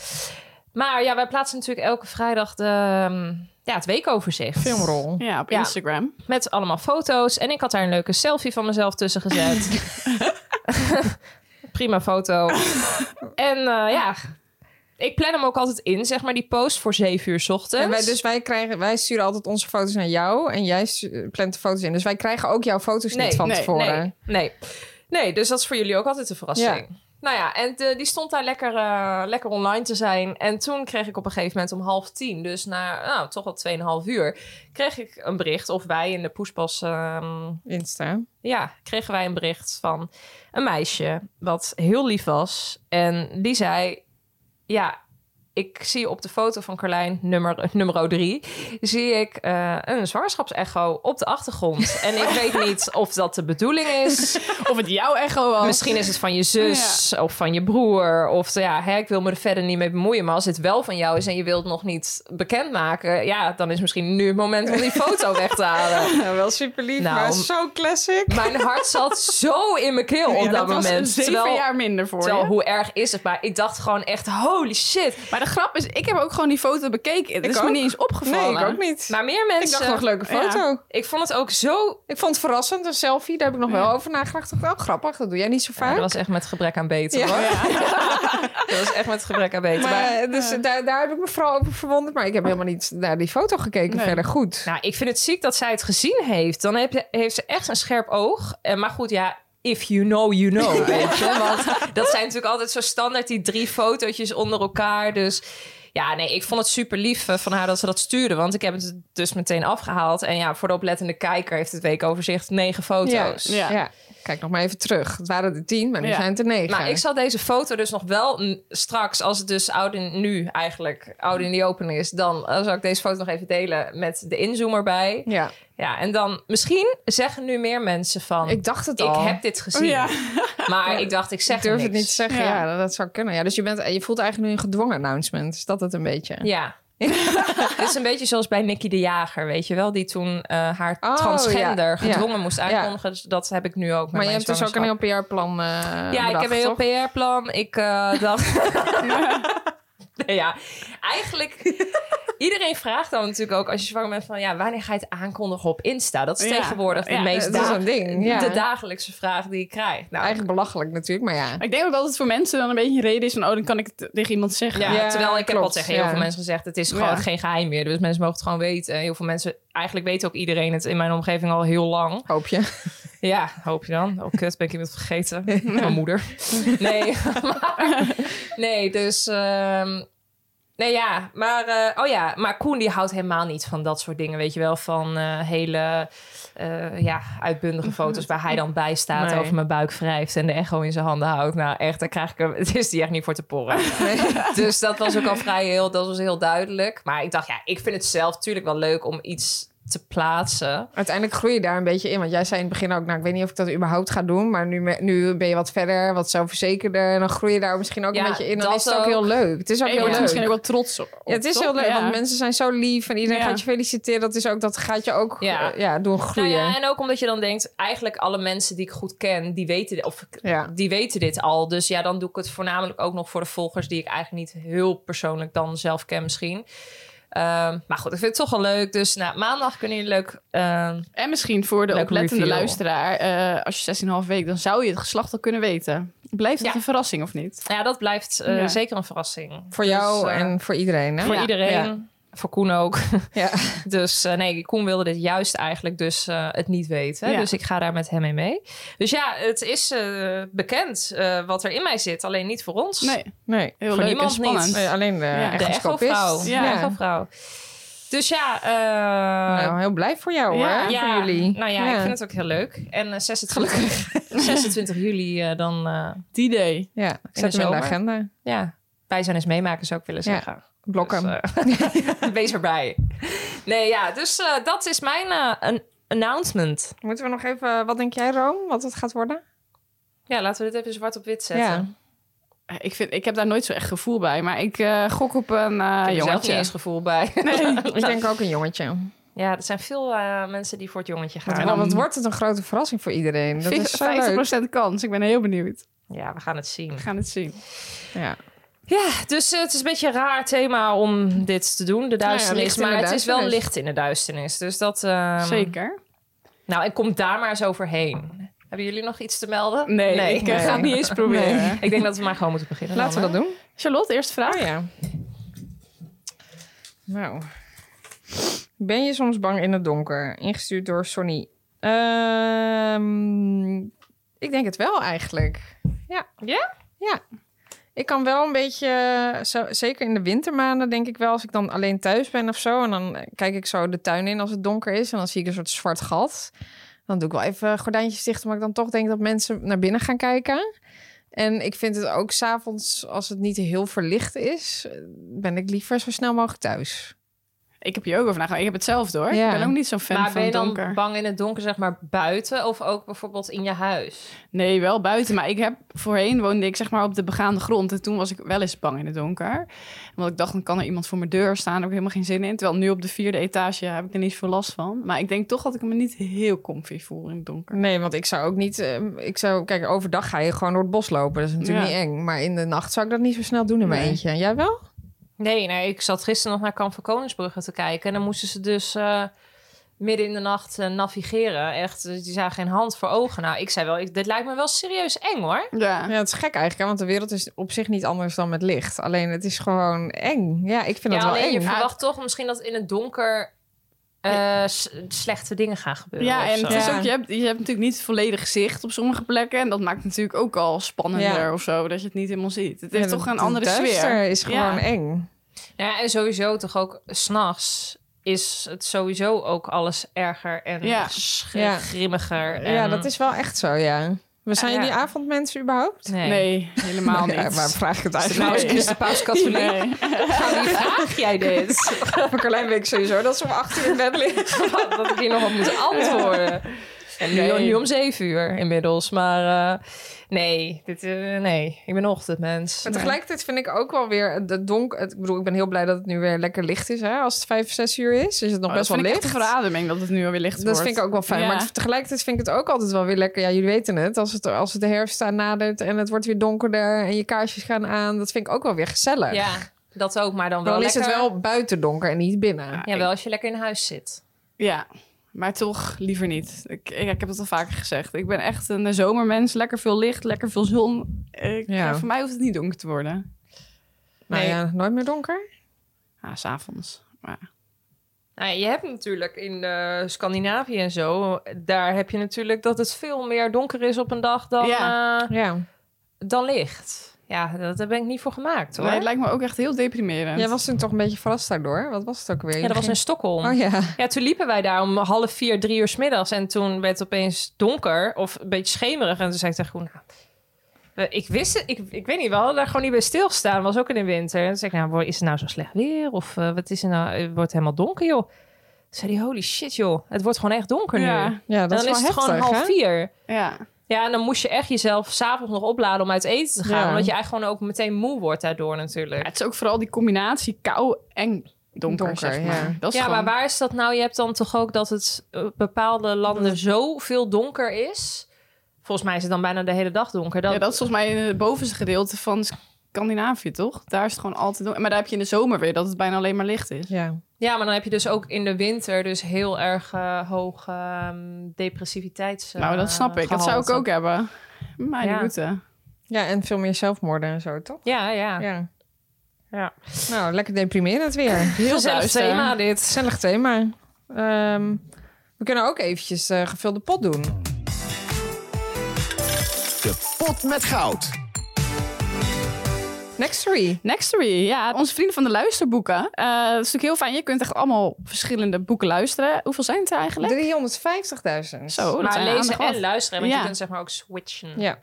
[SPEAKER 4] Maar ja, wij plaatsen natuurlijk elke vrijdag de, ehm, ja, het weekoverzicht.
[SPEAKER 5] Filmrol.
[SPEAKER 6] Ja, op
[SPEAKER 4] Ja.
[SPEAKER 6] Instagram.
[SPEAKER 4] Met allemaal foto's. En ik had daar een leuke selfie van mezelf tussen gezet. Prima foto. en eh, ja, ik plan hem ook altijd in, zeg maar, die post voor 7 uur 's ochtends.
[SPEAKER 5] En wij, dus wij, krijgen, wij sturen altijd onze foto's naar jou en jij stu- plant de foto's in. Dus wij krijgen ook jouw foto's
[SPEAKER 4] Nee,
[SPEAKER 5] niet van
[SPEAKER 6] nee,
[SPEAKER 5] tevoren.
[SPEAKER 4] Nee, nee. nee, dus dat is voor jullie ook altijd een verrassing. Nou ja, en de- die stond daar lekker, eh, lekker online te zijn. En toen kreeg ik op een gegeven moment om half tien, dus na nou, toch al 2,5 uur, kreeg ik een bericht. Of wij in de poespas ehm,
[SPEAKER 5] Insta.
[SPEAKER 4] ja, kregen wij een bericht van een meisje wat heel lief was. En die zei, ja, ik zie op de foto van Carlijn, nummer, nummer drie, zie ik eh, een zwangerschapsecho op de achtergrond. en ik weet niet of dat de bedoeling is.
[SPEAKER 6] Of het jouw echo was.
[SPEAKER 4] Misschien is het van je zus of van je broer. Of ja, hè, ik wil me er verder niet mee bemoeien. Maar als het wel van jou is en je wilt het nog niet bekendmaken... ja, dan is misschien nu het moment om die foto weg te halen.
[SPEAKER 5] Nou, wel super lief,
[SPEAKER 4] Nou,
[SPEAKER 5] maar zo classic.
[SPEAKER 4] Mijn hart zat zo in mijn keel op
[SPEAKER 6] Ja,
[SPEAKER 4] dat,
[SPEAKER 6] was
[SPEAKER 4] moment.
[SPEAKER 6] zeven
[SPEAKER 4] terwijl,
[SPEAKER 6] jaar minder voor
[SPEAKER 4] terwijl,
[SPEAKER 6] je.
[SPEAKER 4] hoe erg is het? Maar ik dacht gewoon echt, holy shit.
[SPEAKER 6] Maar de grap is, ik heb ook gewoon die foto bekeken. Het
[SPEAKER 5] Ik
[SPEAKER 6] is me
[SPEAKER 5] ook.
[SPEAKER 6] niet eens
[SPEAKER 5] Nee,
[SPEAKER 6] opgevallen.
[SPEAKER 5] ik ook niet.
[SPEAKER 4] Maar meer
[SPEAKER 5] ik
[SPEAKER 4] mensen...
[SPEAKER 5] dacht nog leuke
[SPEAKER 6] ja.
[SPEAKER 5] foto.
[SPEAKER 4] Ik vond het ook zo...
[SPEAKER 5] Ik vond het verrassend, een selfie. Daar heb ik nog wel over nagedacht. Ik dacht, oh, grappig, dat doe jij niet zo
[SPEAKER 4] Ja,
[SPEAKER 5] vaak.
[SPEAKER 4] dat was echt met gebrek aan beter,
[SPEAKER 5] Ja.
[SPEAKER 4] hoor. Dat was echt met gebrek aan beter.
[SPEAKER 5] maar,
[SPEAKER 4] Maar,
[SPEAKER 5] eh, dus daar, daar heb ik me vooral over verwonderd. Maar ik heb helemaal niet naar die foto gekeken
[SPEAKER 6] Nee.
[SPEAKER 5] verder. Goed.
[SPEAKER 4] nou, ik vind het ziek dat zij het gezien heeft. Dan heb je- heeft ze echt een scherp oog. En, maar goed, ja... If you know, you know. Weet je? Want dat zijn natuurlijk altijd zo standaard die drie fotootjes onder elkaar. Dus Ja, nee, ik vond het super lief eh, van haar dat ze dat stuurde. Want ik heb het dus meteen afgehaald. En ja, voor de oplettende kijker heeft het weekoverzicht negen foto's.
[SPEAKER 5] Ja. Ja. Kijk nog maar even terug. Het waren er tien, maar nu
[SPEAKER 6] Ja.
[SPEAKER 5] zijn het er negen.
[SPEAKER 4] Maar ik zal deze foto dus nog wel n- straks, als het dus oud in, nu eigenlijk oud in die open is, dan eh, zal ik deze foto nog even delen met de inzoomer erbij.
[SPEAKER 5] Ja,
[SPEAKER 4] Ja, en dan misschien zeggen nu meer mensen van, ik,
[SPEAKER 5] ik dacht het al.
[SPEAKER 4] heb dit gezien.
[SPEAKER 6] Oh, ja.
[SPEAKER 4] Maar ik dacht, ik zeg
[SPEAKER 5] Ik durf
[SPEAKER 4] niks.
[SPEAKER 5] het niet te zeggen. Ja.
[SPEAKER 6] Ja.
[SPEAKER 5] dat, dat zou kunnen. Ja, dus je, bent, je voelt eigenlijk nu een gedwongen announcement. Is dat het een beetje?
[SPEAKER 4] Ja. Het is een beetje zoals bij Nicky de Jager, weet je wel? Die toen eh, haar
[SPEAKER 5] Oh,
[SPEAKER 4] transgender
[SPEAKER 5] ja. Ja.
[SPEAKER 4] gedwongen moest aankondigen. Dus dat heb ik nu ook met
[SPEAKER 5] maar je
[SPEAKER 4] mijn
[SPEAKER 5] hebt dus ook een heel
[SPEAKER 4] zwangerschap.
[SPEAKER 5] PR-plan. eh,
[SPEAKER 4] Ja, ik
[SPEAKER 5] bedacht,
[SPEAKER 4] heb een
[SPEAKER 5] toch?
[SPEAKER 4] heel PR-plan. Ik eh, dacht... Nee, ja, eigenlijk... Iedereen vraagt dan natuurlijk ook als je zwanger bent van... ja, wanneer ga je het aankondigen op Insta? Dat is
[SPEAKER 6] Ja.
[SPEAKER 4] tegenwoordig de
[SPEAKER 6] Ja,
[SPEAKER 4] meest...
[SPEAKER 5] Dat is
[SPEAKER 4] da-
[SPEAKER 5] een ding. Ja.
[SPEAKER 4] De dagelijkse vraag die ik krijg. Nou,
[SPEAKER 5] Eigenlijk belachelijk natuurlijk, maar ja.
[SPEAKER 6] Maar Ik denk ook dat het voor mensen dan een beetje een reden is van... oh, dan kan ik het tegen iemand zeggen.
[SPEAKER 4] Ja,
[SPEAKER 5] Ja,
[SPEAKER 4] terwijl ik heb
[SPEAKER 5] klopt,
[SPEAKER 4] al tegen heel
[SPEAKER 5] ja.
[SPEAKER 4] veel mensen gezegd... het is gewoon
[SPEAKER 6] Ja.
[SPEAKER 4] geen geheim meer. Dus mensen mogen het gewoon weten. Heel veel mensen... Eigenlijk weet ook iedereen het in mijn omgeving al heel lang.
[SPEAKER 5] Hoop je.
[SPEAKER 4] Ja, hoop je dan. Oh kut, ben ik iemand vergeten. Mijn moeder. Nee, maar- nee dus... ehm, nee, ja. Maar, eh, oh ja, maar Koen die houdt helemaal niet van dat soort dingen. Weet je wel, van eh, hele eh, ja, uitbundige foto's... waar hij dan bij staat,
[SPEAKER 5] Nee.
[SPEAKER 4] over mijn buik wrijft... en de echo in zijn handen houdt. Nou echt, daar krijg ik hem... Het is die echt niet voor te porren. Dus dat was ook al vrij heel, dat was heel duidelijk. Maar ik dacht, ja, ik vind het zelf natuurlijk wel leuk om iets te plaatsen.
[SPEAKER 5] Uiteindelijk groei je daar een beetje in. Want jij zei in het begin ook, nou, ik weet niet of ik dat überhaupt ga doen. Maar nu, me- nu ben je wat verder, wat zelfverzekerder. En dan groei je daar misschien ook
[SPEAKER 4] Ja,
[SPEAKER 5] een beetje in. Dan
[SPEAKER 4] dat
[SPEAKER 5] is het ook,
[SPEAKER 4] ook.
[SPEAKER 5] heel leuk. Het is ook
[SPEAKER 6] En je
[SPEAKER 5] heel
[SPEAKER 6] wordt
[SPEAKER 5] leuk.
[SPEAKER 6] er misschien ook wel trots op.
[SPEAKER 5] Ja, het is
[SPEAKER 6] toch?
[SPEAKER 5] heel leuk,
[SPEAKER 6] Ja.
[SPEAKER 5] want mensen zijn zo lief. En iedereen
[SPEAKER 6] Ja.
[SPEAKER 5] gaat je feliciteren. Dat is ook, dat gaat je ook
[SPEAKER 4] Ja.
[SPEAKER 5] eh, ja, doen
[SPEAKER 4] Nou
[SPEAKER 5] groeien.
[SPEAKER 4] ja, en ook omdat je dan denkt, eigenlijk alle mensen die ik goed ken, die weten, of, ik-
[SPEAKER 5] Ja.
[SPEAKER 4] die weten dit al. Dus ja, dan doe ik het voornamelijk ook nog voor de volgers die ik eigenlijk niet heel persoonlijk dan zelf ken misschien. Ehm, maar goed, ik vind het toch wel leuk. Dus nou, maandag kunnen jullie leuk... ehm,
[SPEAKER 6] En misschien voor de
[SPEAKER 4] Leuk
[SPEAKER 6] oplettende
[SPEAKER 4] reveal.
[SPEAKER 6] luisteraar, eh, als je 16,5 week, dan zou je het geslacht al kunnen weten. Blijft het
[SPEAKER 4] Ja.
[SPEAKER 6] een verrassing of niet?
[SPEAKER 4] ja, dat blijft eh,
[SPEAKER 6] Ja.
[SPEAKER 4] zeker een verrassing.
[SPEAKER 5] Voor
[SPEAKER 4] Dus,
[SPEAKER 5] jou
[SPEAKER 4] eh,
[SPEAKER 5] en voor iedereen. Hè?
[SPEAKER 4] voor
[SPEAKER 6] Ja.
[SPEAKER 4] iedereen.
[SPEAKER 5] Ja.
[SPEAKER 4] Voor Koen ook.
[SPEAKER 5] Ja.
[SPEAKER 4] Dus eh, nee, Koen wilde dit juist eigenlijk dus eh, het niet weten.
[SPEAKER 6] Ja.
[SPEAKER 4] Dus ik ga daar met hem in mee. Dus ja, het is eh, bekend eh, wat er in mij zit. Alleen niet voor ons.
[SPEAKER 6] Nee,
[SPEAKER 5] Nee.
[SPEAKER 4] Voor
[SPEAKER 6] heel leuk en
[SPEAKER 4] niemand niet.
[SPEAKER 6] spannend.
[SPEAKER 5] Nee, alleen de
[SPEAKER 6] Ja,
[SPEAKER 4] de
[SPEAKER 5] echoscopist.
[SPEAKER 4] echovrouw.
[SPEAKER 6] Ja.
[SPEAKER 4] Ja, de echovrouw. Dus ja, eh,
[SPEAKER 5] Nou, heel blij voor jou
[SPEAKER 6] Ja.
[SPEAKER 5] hoor.
[SPEAKER 4] ja,
[SPEAKER 5] Voor jullie.
[SPEAKER 4] Nou ja, ik vind het ook heel leuk. En eh, 26, 26 juli eh, dan, eh,
[SPEAKER 6] Die idee.
[SPEAKER 5] Ja, ik zet
[SPEAKER 4] de
[SPEAKER 5] hem in
[SPEAKER 4] zomer.
[SPEAKER 5] de agenda.
[SPEAKER 4] ja, wij zijn eens meemaken zou ik willen
[SPEAKER 5] Ja.
[SPEAKER 4] zeggen.
[SPEAKER 5] Blok hem.
[SPEAKER 4] Dus, eh, wees erbij. Nee, ja, dus eh, dat is mijn eh, an- announcement.
[SPEAKER 5] Moeten we nog even, wat denk jij Rome, wat het gaat worden?
[SPEAKER 4] Ja, laten we dit even zwart op wit zetten.
[SPEAKER 5] Ja.
[SPEAKER 6] Eh, Ik, vind, ik heb daar nooit zo echt gevoel bij, maar ik eh, gok op een eh
[SPEAKER 4] ik heb er zelf niet
[SPEAKER 6] jongetje.
[SPEAKER 4] eens gevoel bij.
[SPEAKER 5] Ik denk ook een jongetje.
[SPEAKER 4] Ja, er zijn veel eh, mensen die voor het jongetje gaan.
[SPEAKER 5] Want, wat wordt het een grote verrassing voor iedereen. Dat is zo leuk.
[SPEAKER 6] 50% kans. Ik ben heel benieuwd.
[SPEAKER 4] Ja, we gaan het zien.
[SPEAKER 6] We gaan het zien.
[SPEAKER 5] Ja.
[SPEAKER 4] Ja, dus eh, het is een beetje een raar thema om dit te doen, de
[SPEAKER 5] Nou ja,
[SPEAKER 4] duisternis.
[SPEAKER 5] licht in
[SPEAKER 4] maar
[SPEAKER 5] de
[SPEAKER 4] het is wel
[SPEAKER 5] duisternis.
[SPEAKER 4] licht in de duisternis. Dus dat... ehm,
[SPEAKER 6] Zeker.
[SPEAKER 4] Nou, ik kom daar maar eens overheen. Hebben jullie nog iets te melden?
[SPEAKER 6] Nee, ik eh,
[SPEAKER 5] nee.
[SPEAKER 6] ga het niet eens proberen.
[SPEAKER 4] Ik denk dat we maar gewoon moeten beginnen.
[SPEAKER 5] Laten we
[SPEAKER 4] dan,
[SPEAKER 5] dat doen.
[SPEAKER 6] Charlotte, eerste vraag.
[SPEAKER 5] Oh ja. Nou. Ben je soms bang in het donker? Ingestuurd door Sonny. Ehm, ik denk het wel eigenlijk. Ja.
[SPEAKER 4] Ja?
[SPEAKER 5] Ja. Ik kan wel een beetje, eh, zo- zeker in de wintermaanden denk ik wel, als ik dan alleen thuis ben of zo. En dan eh, kijk ik zo de tuin in als het donker is. En dan zie ik een soort zwart gat. Dan doe ik wel even gordijntjes dicht, maar ik dan toch denk dat mensen naar binnen gaan kijken. En ik vind het ook s'avonds, als het niet heel verlicht is, eh, ben ik liever zo snel mogelijk thuis.
[SPEAKER 6] Ik heb hier ook over nagedacht. Ik heb het zelf door.
[SPEAKER 5] Ja.
[SPEAKER 6] Ik ben ook niet zo'n fan
[SPEAKER 4] maar
[SPEAKER 6] van
[SPEAKER 4] ben je dan
[SPEAKER 6] donker.
[SPEAKER 4] bang in het donker, zeg maar buiten of ook bijvoorbeeld in je huis?
[SPEAKER 6] Nee, wel buiten. Maar ik heb voorheen woonde ik zeg maar op de begaande grond. En toen was ik wel eens bang in het donker. Want ik dacht, dan kan er iemand voor mijn deur staan. Daar heb ik helemaal geen zin in. Terwijl nu op de vierde etage heb ik er niet veel last van. Maar ik denk toch dat ik me niet heel comfy voel in het donker.
[SPEAKER 5] Nee, want ik zou ook niet, eh, ik zou, kijk, overdag ga je gewoon door het bos lopen. Dat is natuurlijk
[SPEAKER 6] Ja.
[SPEAKER 5] niet eng. Maar in de nacht zou ik dat niet zo snel doen in mijn
[SPEAKER 6] Nee.
[SPEAKER 5] eentje. Jij wel?
[SPEAKER 4] Nee, nee, ik zat gisteren nog naar Kamp van Koningsbrugge te kijken. En dan moesten ze dus eh, midden in de nacht eh, navigeren. Echt, eh, die zagen geen hand voor ogen. Nou, ik zei wel, ik, dit lijkt me wel serieus eng hoor.
[SPEAKER 6] Ja.
[SPEAKER 5] Ja, het is gek eigenlijk, hè, want de wereld is op zich niet anders dan met licht. Alleen het is gewoon eng. Ja, ik vind
[SPEAKER 4] Ja,
[SPEAKER 5] dat wel
[SPEAKER 4] alleen
[SPEAKER 5] eng.
[SPEAKER 4] je
[SPEAKER 6] Nou,
[SPEAKER 4] verwacht toch misschien dat in het donker eh, s- slechte dingen gaan gebeuren.
[SPEAKER 6] Ja,
[SPEAKER 4] of
[SPEAKER 6] en
[SPEAKER 4] zo.
[SPEAKER 6] het is
[SPEAKER 5] Ja.
[SPEAKER 6] ook, je, hebt, je hebt natuurlijk niet volledig zicht op sommige plekken. En dat maakt het natuurlijk ook al spannender
[SPEAKER 5] Ja.
[SPEAKER 6] of zo. Dat je het niet helemaal ziet. Het
[SPEAKER 5] Ja,
[SPEAKER 6] heeft
[SPEAKER 5] de-
[SPEAKER 6] toch een
[SPEAKER 5] de
[SPEAKER 6] andere sfeer.
[SPEAKER 5] duister is gewoon
[SPEAKER 6] Ja.
[SPEAKER 5] eng.
[SPEAKER 4] Ja, en sowieso toch ook s'nachts is het sowieso ook alles erger en
[SPEAKER 6] Ja.
[SPEAKER 4] sch-
[SPEAKER 5] Ja.
[SPEAKER 4] grimmiger.
[SPEAKER 5] Ja,
[SPEAKER 4] en-
[SPEAKER 5] dat is wel echt zo, ja. We zijn
[SPEAKER 4] Ja.
[SPEAKER 5] die avondmensen überhaupt?
[SPEAKER 4] Nee.
[SPEAKER 6] Nee, helemaal niet.
[SPEAKER 5] Ja, waar vraag ik het
[SPEAKER 4] Nou,
[SPEAKER 5] eigenlijk?
[SPEAKER 6] Nee.
[SPEAKER 4] is de paus katholiek?
[SPEAKER 6] Nee.
[SPEAKER 4] Wie vraag jij dit?
[SPEAKER 5] Voor Carlijn weet ik sowieso dat ze om acht uur in bed liggen.
[SPEAKER 4] dat ik hier nog op moet antwoorden. En nu,
[SPEAKER 6] Nee.
[SPEAKER 4] nu om zeven uur inmiddels. Maar eh, nee, dit, eh, nee, ik ben een ochtendmens.
[SPEAKER 5] Maar tegelijkertijd vind ik ook wel weer de donk... Het, ik bedoel, ik ben heel blij dat het nu weer lekker licht is, hè. Als het vijf, zes uur is, is het nog
[SPEAKER 6] Oh,
[SPEAKER 5] best wel
[SPEAKER 6] dat vind ik
[SPEAKER 5] licht.
[SPEAKER 6] echt een verademing dat het nu alweer licht wordt.
[SPEAKER 5] Dat vind ik ook wel fijn.
[SPEAKER 6] Ja.
[SPEAKER 5] Maar tegelijkertijd vind ik het ook altijd wel weer lekker. Ja, jullie weten het. Als het, als het de herfst aan nadert en het wordt weer donkerder en je kaarsjes gaan aan. Dat vind ik ook wel weer gezellig.
[SPEAKER 4] ja, dat ook, maar dan wel
[SPEAKER 5] Dan is
[SPEAKER 4] lekker.
[SPEAKER 5] het wel buiten donker en niet binnen.
[SPEAKER 4] Ja, wel als je lekker in huis zit.
[SPEAKER 6] Ja, maar toch liever niet. Ik, ik, ik heb het al vaker gezegd. Ik ben echt een eh, zomermens. Lekker veel licht, lekker veel zon. Ik,
[SPEAKER 5] Ja.
[SPEAKER 6] eh, Voor mij hoeft het niet donker te worden.
[SPEAKER 5] Nou
[SPEAKER 4] Nee.
[SPEAKER 5] ja, nooit meer donker.
[SPEAKER 6] Ja, s'avonds. Maar
[SPEAKER 4] Nou, ja, je hebt natuurlijk in eh, Scandinavië en zo, daar heb je natuurlijk dat het veel meer donker is op een dag dan,
[SPEAKER 6] Ja.
[SPEAKER 4] eh,
[SPEAKER 5] Ja.
[SPEAKER 4] dan licht. Ja, dat, daar ben ik niet voor gemaakt hoor.
[SPEAKER 6] nee, het lijkt me ook echt heel deprimerend.
[SPEAKER 5] Jij was toen toch een beetje verrast daardoor. Wat was het ook weer?
[SPEAKER 4] ja, dat was in Stockholm.
[SPEAKER 5] Oh ja.
[SPEAKER 4] Ja, toen liepen wij daar om half vier, drie uur 's middags. En toen werd het opeens donker of een beetje schemerig. En toen zei ik tegen Groen, nou, we- ik wist het, ik, ik weet niet, we hadden daar gewoon niet bij stilstaan. Eh, was ook in de winter. En toen zei ik, nou, wo- is het nou zo slecht weer? Of eh, wat is er nou? Het wordt helemaal donker, joh. Toen zei hij, holy shit joh, het wordt gewoon echt donker
[SPEAKER 6] Ja.
[SPEAKER 4] nu.
[SPEAKER 5] Ja, dat
[SPEAKER 4] en dan is,
[SPEAKER 5] is wel
[SPEAKER 4] het gewoon
[SPEAKER 5] heftig,
[SPEAKER 4] half
[SPEAKER 5] hè?
[SPEAKER 4] vier.
[SPEAKER 6] Ja.
[SPEAKER 4] Ja, en dan moest je echt jezelf s'avonds nog opladen om uit eten te gaan.
[SPEAKER 5] Ja.
[SPEAKER 4] Omdat je eigenlijk gewoon ook meteen moe wordt daardoor
[SPEAKER 6] Ja,
[SPEAKER 4] natuurlijk.
[SPEAKER 6] het is ook vooral die combinatie kou en donker,
[SPEAKER 5] Donker,
[SPEAKER 6] zeg maar.
[SPEAKER 5] ja.
[SPEAKER 6] Dat is
[SPEAKER 4] Ja,
[SPEAKER 6] gewoon-
[SPEAKER 4] maar waar is dat nou? Je hebt dan toch ook dat het eh, bepaalde landen zoveel donker is. Volgens mij is het dan bijna de hele dag donker. Dan,
[SPEAKER 6] Ja, dat is volgens mij in het bovenste gedeelte van Scandinavië, toch? Daar is het gewoon altijd donker. Maar daar heb je in de zomer weer dat het bijna alleen maar licht is.
[SPEAKER 5] Ja.
[SPEAKER 4] ja, maar dan heb je dus ook in de winter dus heel erg eh, hoog ehm, depressiviteits. eh,
[SPEAKER 6] nou, dat snap ik. Dat zou ik
[SPEAKER 4] gehalte.
[SPEAKER 6] ook hebben. Maar
[SPEAKER 4] Ja.
[SPEAKER 6] ja. route.
[SPEAKER 5] ja, en veel meer zelfmoorden en zo, toch?
[SPEAKER 4] Ja, ja.
[SPEAKER 5] Ja.
[SPEAKER 4] Ja.
[SPEAKER 5] Nou, lekker deprimerend weer.
[SPEAKER 4] Heel
[SPEAKER 6] duister.
[SPEAKER 4] zelf thema
[SPEAKER 6] Oh,
[SPEAKER 4] dit.
[SPEAKER 5] Gezellig thema. Ehm, we kunnen ook eventjes eh, gevulde pot doen.
[SPEAKER 3] De pot met goud.
[SPEAKER 5] Next three.
[SPEAKER 6] Nextory, ja. Onze vrienden van de luisterboeken. Eh, dat is natuurlijk heel fijn. Je kunt echt allemaal verschillende boeken luisteren. Hoeveel zijn het er eigenlijk?
[SPEAKER 5] 350.000.
[SPEAKER 6] Zo, dat
[SPEAKER 4] maar
[SPEAKER 6] zijn er
[SPEAKER 4] lezen
[SPEAKER 6] aardig
[SPEAKER 4] en
[SPEAKER 6] wat.
[SPEAKER 4] luisteren. Want je
[SPEAKER 6] Ja.
[SPEAKER 4] kunt zeg maar ook switchen.
[SPEAKER 5] Ja.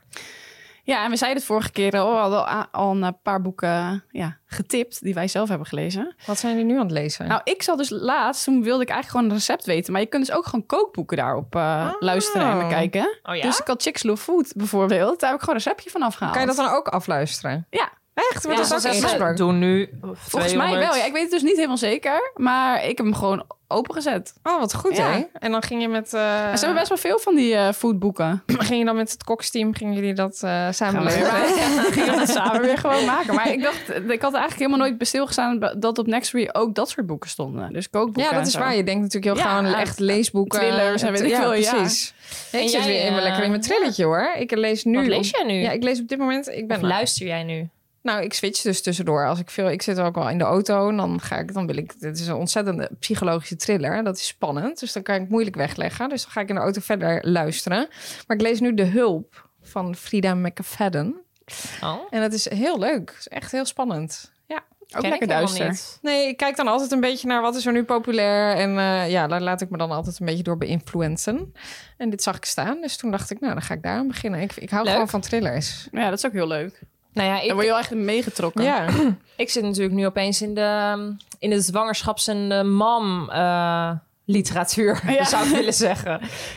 [SPEAKER 6] Ja, en we zeiden het vorige keer al, we hadden al- al een paar boeken ja, getipt die wij zelf hebben gelezen.
[SPEAKER 5] Wat zijn jullie nu aan het lezen?
[SPEAKER 6] Nou, ik zat dus laatst, toen wilde ik eigenlijk gewoon een recept weten. Maar je kunt dus ook gewoon kookboeken daarop eh,
[SPEAKER 5] Ah.
[SPEAKER 6] luisteren en bekijken.
[SPEAKER 4] Oh ja?
[SPEAKER 6] Dus ik had Chicks Love Food bijvoorbeeld. Daar heb ik gewoon een receptje van afgehaald.
[SPEAKER 5] kan je dat dan ook afluisteren?
[SPEAKER 6] nou. Ja,
[SPEAKER 5] Echt? Wordt
[SPEAKER 4] Ja,
[SPEAKER 5] dat
[SPEAKER 4] dus
[SPEAKER 5] ook
[SPEAKER 4] als ze
[SPEAKER 5] ingesproken?
[SPEAKER 4] doen nu
[SPEAKER 6] volgens mij wel. Ja, ik weet het dus niet helemaal zeker. Maar ik heb hem gewoon opengezet.
[SPEAKER 5] Oh, wat goed,
[SPEAKER 6] Ja.
[SPEAKER 5] hè? En dan ging je met... eh,
[SPEAKER 6] En ze hebben best wel veel van die eh, foodboeken.
[SPEAKER 5] Ging je dan met het koksteam, gingen jullie dat eh samen
[SPEAKER 6] Gaan we weer
[SPEAKER 5] lezen?
[SPEAKER 6] maken. Ja, we gingen dat samen weer gewoon maken. Maar ik dacht, ik had eigenlijk helemaal nooit bij stilgestaan dat op Nextory ook dat soort boeken stonden. Dus kookboeken.
[SPEAKER 5] Ja, dat
[SPEAKER 6] en
[SPEAKER 5] is
[SPEAKER 6] zo.
[SPEAKER 5] waar. Je denkt natuurlijk heel
[SPEAKER 6] Ja,
[SPEAKER 5] gauw aan echt leesboeken.
[SPEAKER 6] thrillers en weet ik
[SPEAKER 5] ja,
[SPEAKER 6] veel, ja.
[SPEAKER 5] precies.
[SPEAKER 4] En
[SPEAKER 5] Ik zit
[SPEAKER 4] jij,
[SPEAKER 5] weer helemaal
[SPEAKER 4] eh,
[SPEAKER 5] lekker in mijn trilletje, hoor. Ik lees nu...
[SPEAKER 4] Wat lees jij nu?
[SPEAKER 5] Ja, ik lees op dit moment... Ik ben
[SPEAKER 4] Of luister jij nu?
[SPEAKER 5] Nou, ik switch dus tussendoor. Als ik veel, ik zit ook wel in de auto en dan ga ik, dan wil ik. Dit is een ontzettende psychologische thriller. Dat is spannend, dus dan kan ik moeilijk wegleggen. Dus dan ga ik in de auto verder luisteren. Maar ik lees nu De Hulp van Frida McFadden
[SPEAKER 4] Oh.
[SPEAKER 5] en dat is heel leuk. Het is echt heel spannend. Ja.
[SPEAKER 6] Ook lekker duister.
[SPEAKER 5] Nee, ik kijk dan altijd een beetje naar wat is er nu populair. En eh, ja, daar laat ik me dan altijd een beetje door beïnfluencen. En dit zag ik staan, dus toen dacht ik, nou, dan ga ik daar aan beginnen. Ik, ik hou
[SPEAKER 4] Leuk.
[SPEAKER 5] gewoon van thrillers.
[SPEAKER 6] Ja, dat is ook heel leuk.
[SPEAKER 4] Nou ja,
[SPEAKER 6] Dan
[SPEAKER 4] ik,
[SPEAKER 6] word je wel echt meegetrokken.
[SPEAKER 5] Ja,
[SPEAKER 4] ik zit natuurlijk nu opeens in de, in de zwangerschaps- en de mam eh, literatuur,
[SPEAKER 6] Ja.
[SPEAKER 4] zou ik willen zeggen.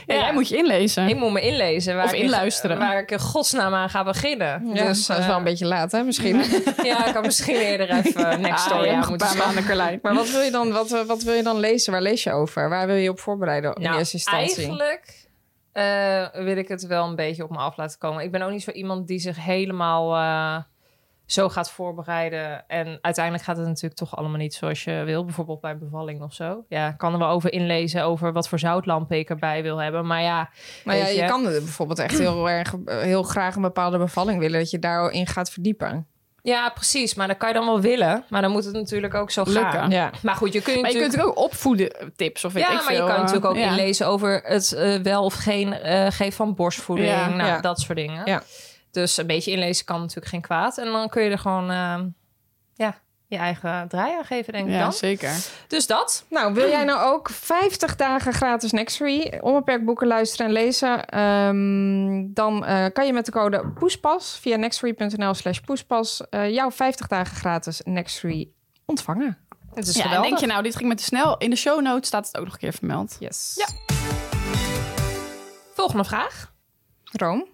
[SPEAKER 6] Ja,
[SPEAKER 4] Ja.
[SPEAKER 6] jij moet je inlezen.
[SPEAKER 4] Ik moet me inlezen. Waar
[SPEAKER 6] Of
[SPEAKER 4] ik-
[SPEAKER 6] inluisteren.
[SPEAKER 4] waar ik in godsnaam aan ga beginnen. eh,
[SPEAKER 5] ja dus dat is wel een beetje laat, hè, misschien.
[SPEAKER 4] Ja, ik kan misschien eerder even eh, next
[SPEAKER 6] Ah,
[SPEAKER 4] story
[SPEAKER 6] ja,
[SPEAKER 4] aan
[SPEAKER 6] nog een
[SPEAKER 4] moeten
[SPEAKER 6] paar
[SPEAKER 4] slaan.
[SPEAKER 6] maanden Carlijn.
[SPEAKER 5] Maar wat wil je dan, wat, eh, wat wil je dan lezen? Waar lees je over? Waar wil je op voorbereiden in
[SPEAKER 4] Nou,
[SPEAKER 5] eerste instantie?
[SPEAKER 4] eigenlijk eh, wil ik het wel een beetje op me af laten komen. Ik ben ook niet zo iemand die zich helemaal eh, zo gaat voorbereiden. En uiteindelijk gaat het natuurlijk toch allemaal niet zoals je wil. Bijvoorbeeld bij een bevalling of zo. Ja, ik kan er wel over inlezen over wat voor zoutlampen ik erbij wil hebben. Maar ja,
[SPEAKER 5] Maar ja,
[SPEAKER 4] weet
[SPEAKER 5] je kan er bijvoorbeeld echt heel erg, eh, heel graag een bepaalde bevalling willen dat je daarin gaat verdiepen.
[SPEAKER 4] ja, precies. Maar dat kan je dan wel willen. Maar dan moet het natuurlijk ook zo
[SPEAKER 6] Lukken.
[SPEAKER 4] gaan.
[SPEAKER 5] Ja.
[SPEAKER 4] Maar goed, je kunt
[SPEAKER 6] Maar je
[SPEAKER 4] natuurlijk...
[SPEAKER 6] kunt ook opvoeden tips of weet
[SPEAKER 4] ja,
[SPEAKER 6] ik
[SPEAKER 4] maar je
[SPEAKER 6] veel,
[SPEAKER 4] kan
[SPEAKER 6] eh,
[SPEAKER 4] natuurlijk ook
[SPEAKER 6] ja.
[SPEAKER 4] inlezen over het eh, wel of geen eh geven van borstvoeding.
[SPEAKER 6] Ja.
[SPEAKER 4] nou,
[SPEAKER 5] Ja.
[SPEAKER 4] dat soort dingen.
[SPEAKER 5] Ja.
[SPEAKER 4] Dus een beetje inlezen kan natuurlijk geen kwaad. En dan kun je er gewoon eh, ja, je eigen draai aan geven, denk ik
[SPEAKER 6] Ja,
[SPEAKER 4] dan.
[SPEAKER 6] zeker.
[SPEAKER 4] Dus dat.
[SPEAKER 5] Nou, wil
[SPEAKER 6] Mm.
[SPEAKER 5] jij nou ook 50 dagen gratis Nextory, onbeperkt boeken luisteren en lezen? Ehm, dan eh, kan je met de code POESPAS via nextory.nl slash poespas eh, jouw 50 dagen gratis Nextory ontvangen.
[SPEAKER 4] Het is
[SPEAKER 6] Ja, en
[SPEAKER 4] geweldig.
[SPEAKER 6] denk je nou, dit ging me te snel. In de show notes staat het ook nog een keer vermeld.
[SPEAKER 5] Yes.
[SPEAKER 4] Ja. Volgende vraag.
[SPEAKER 5] Room.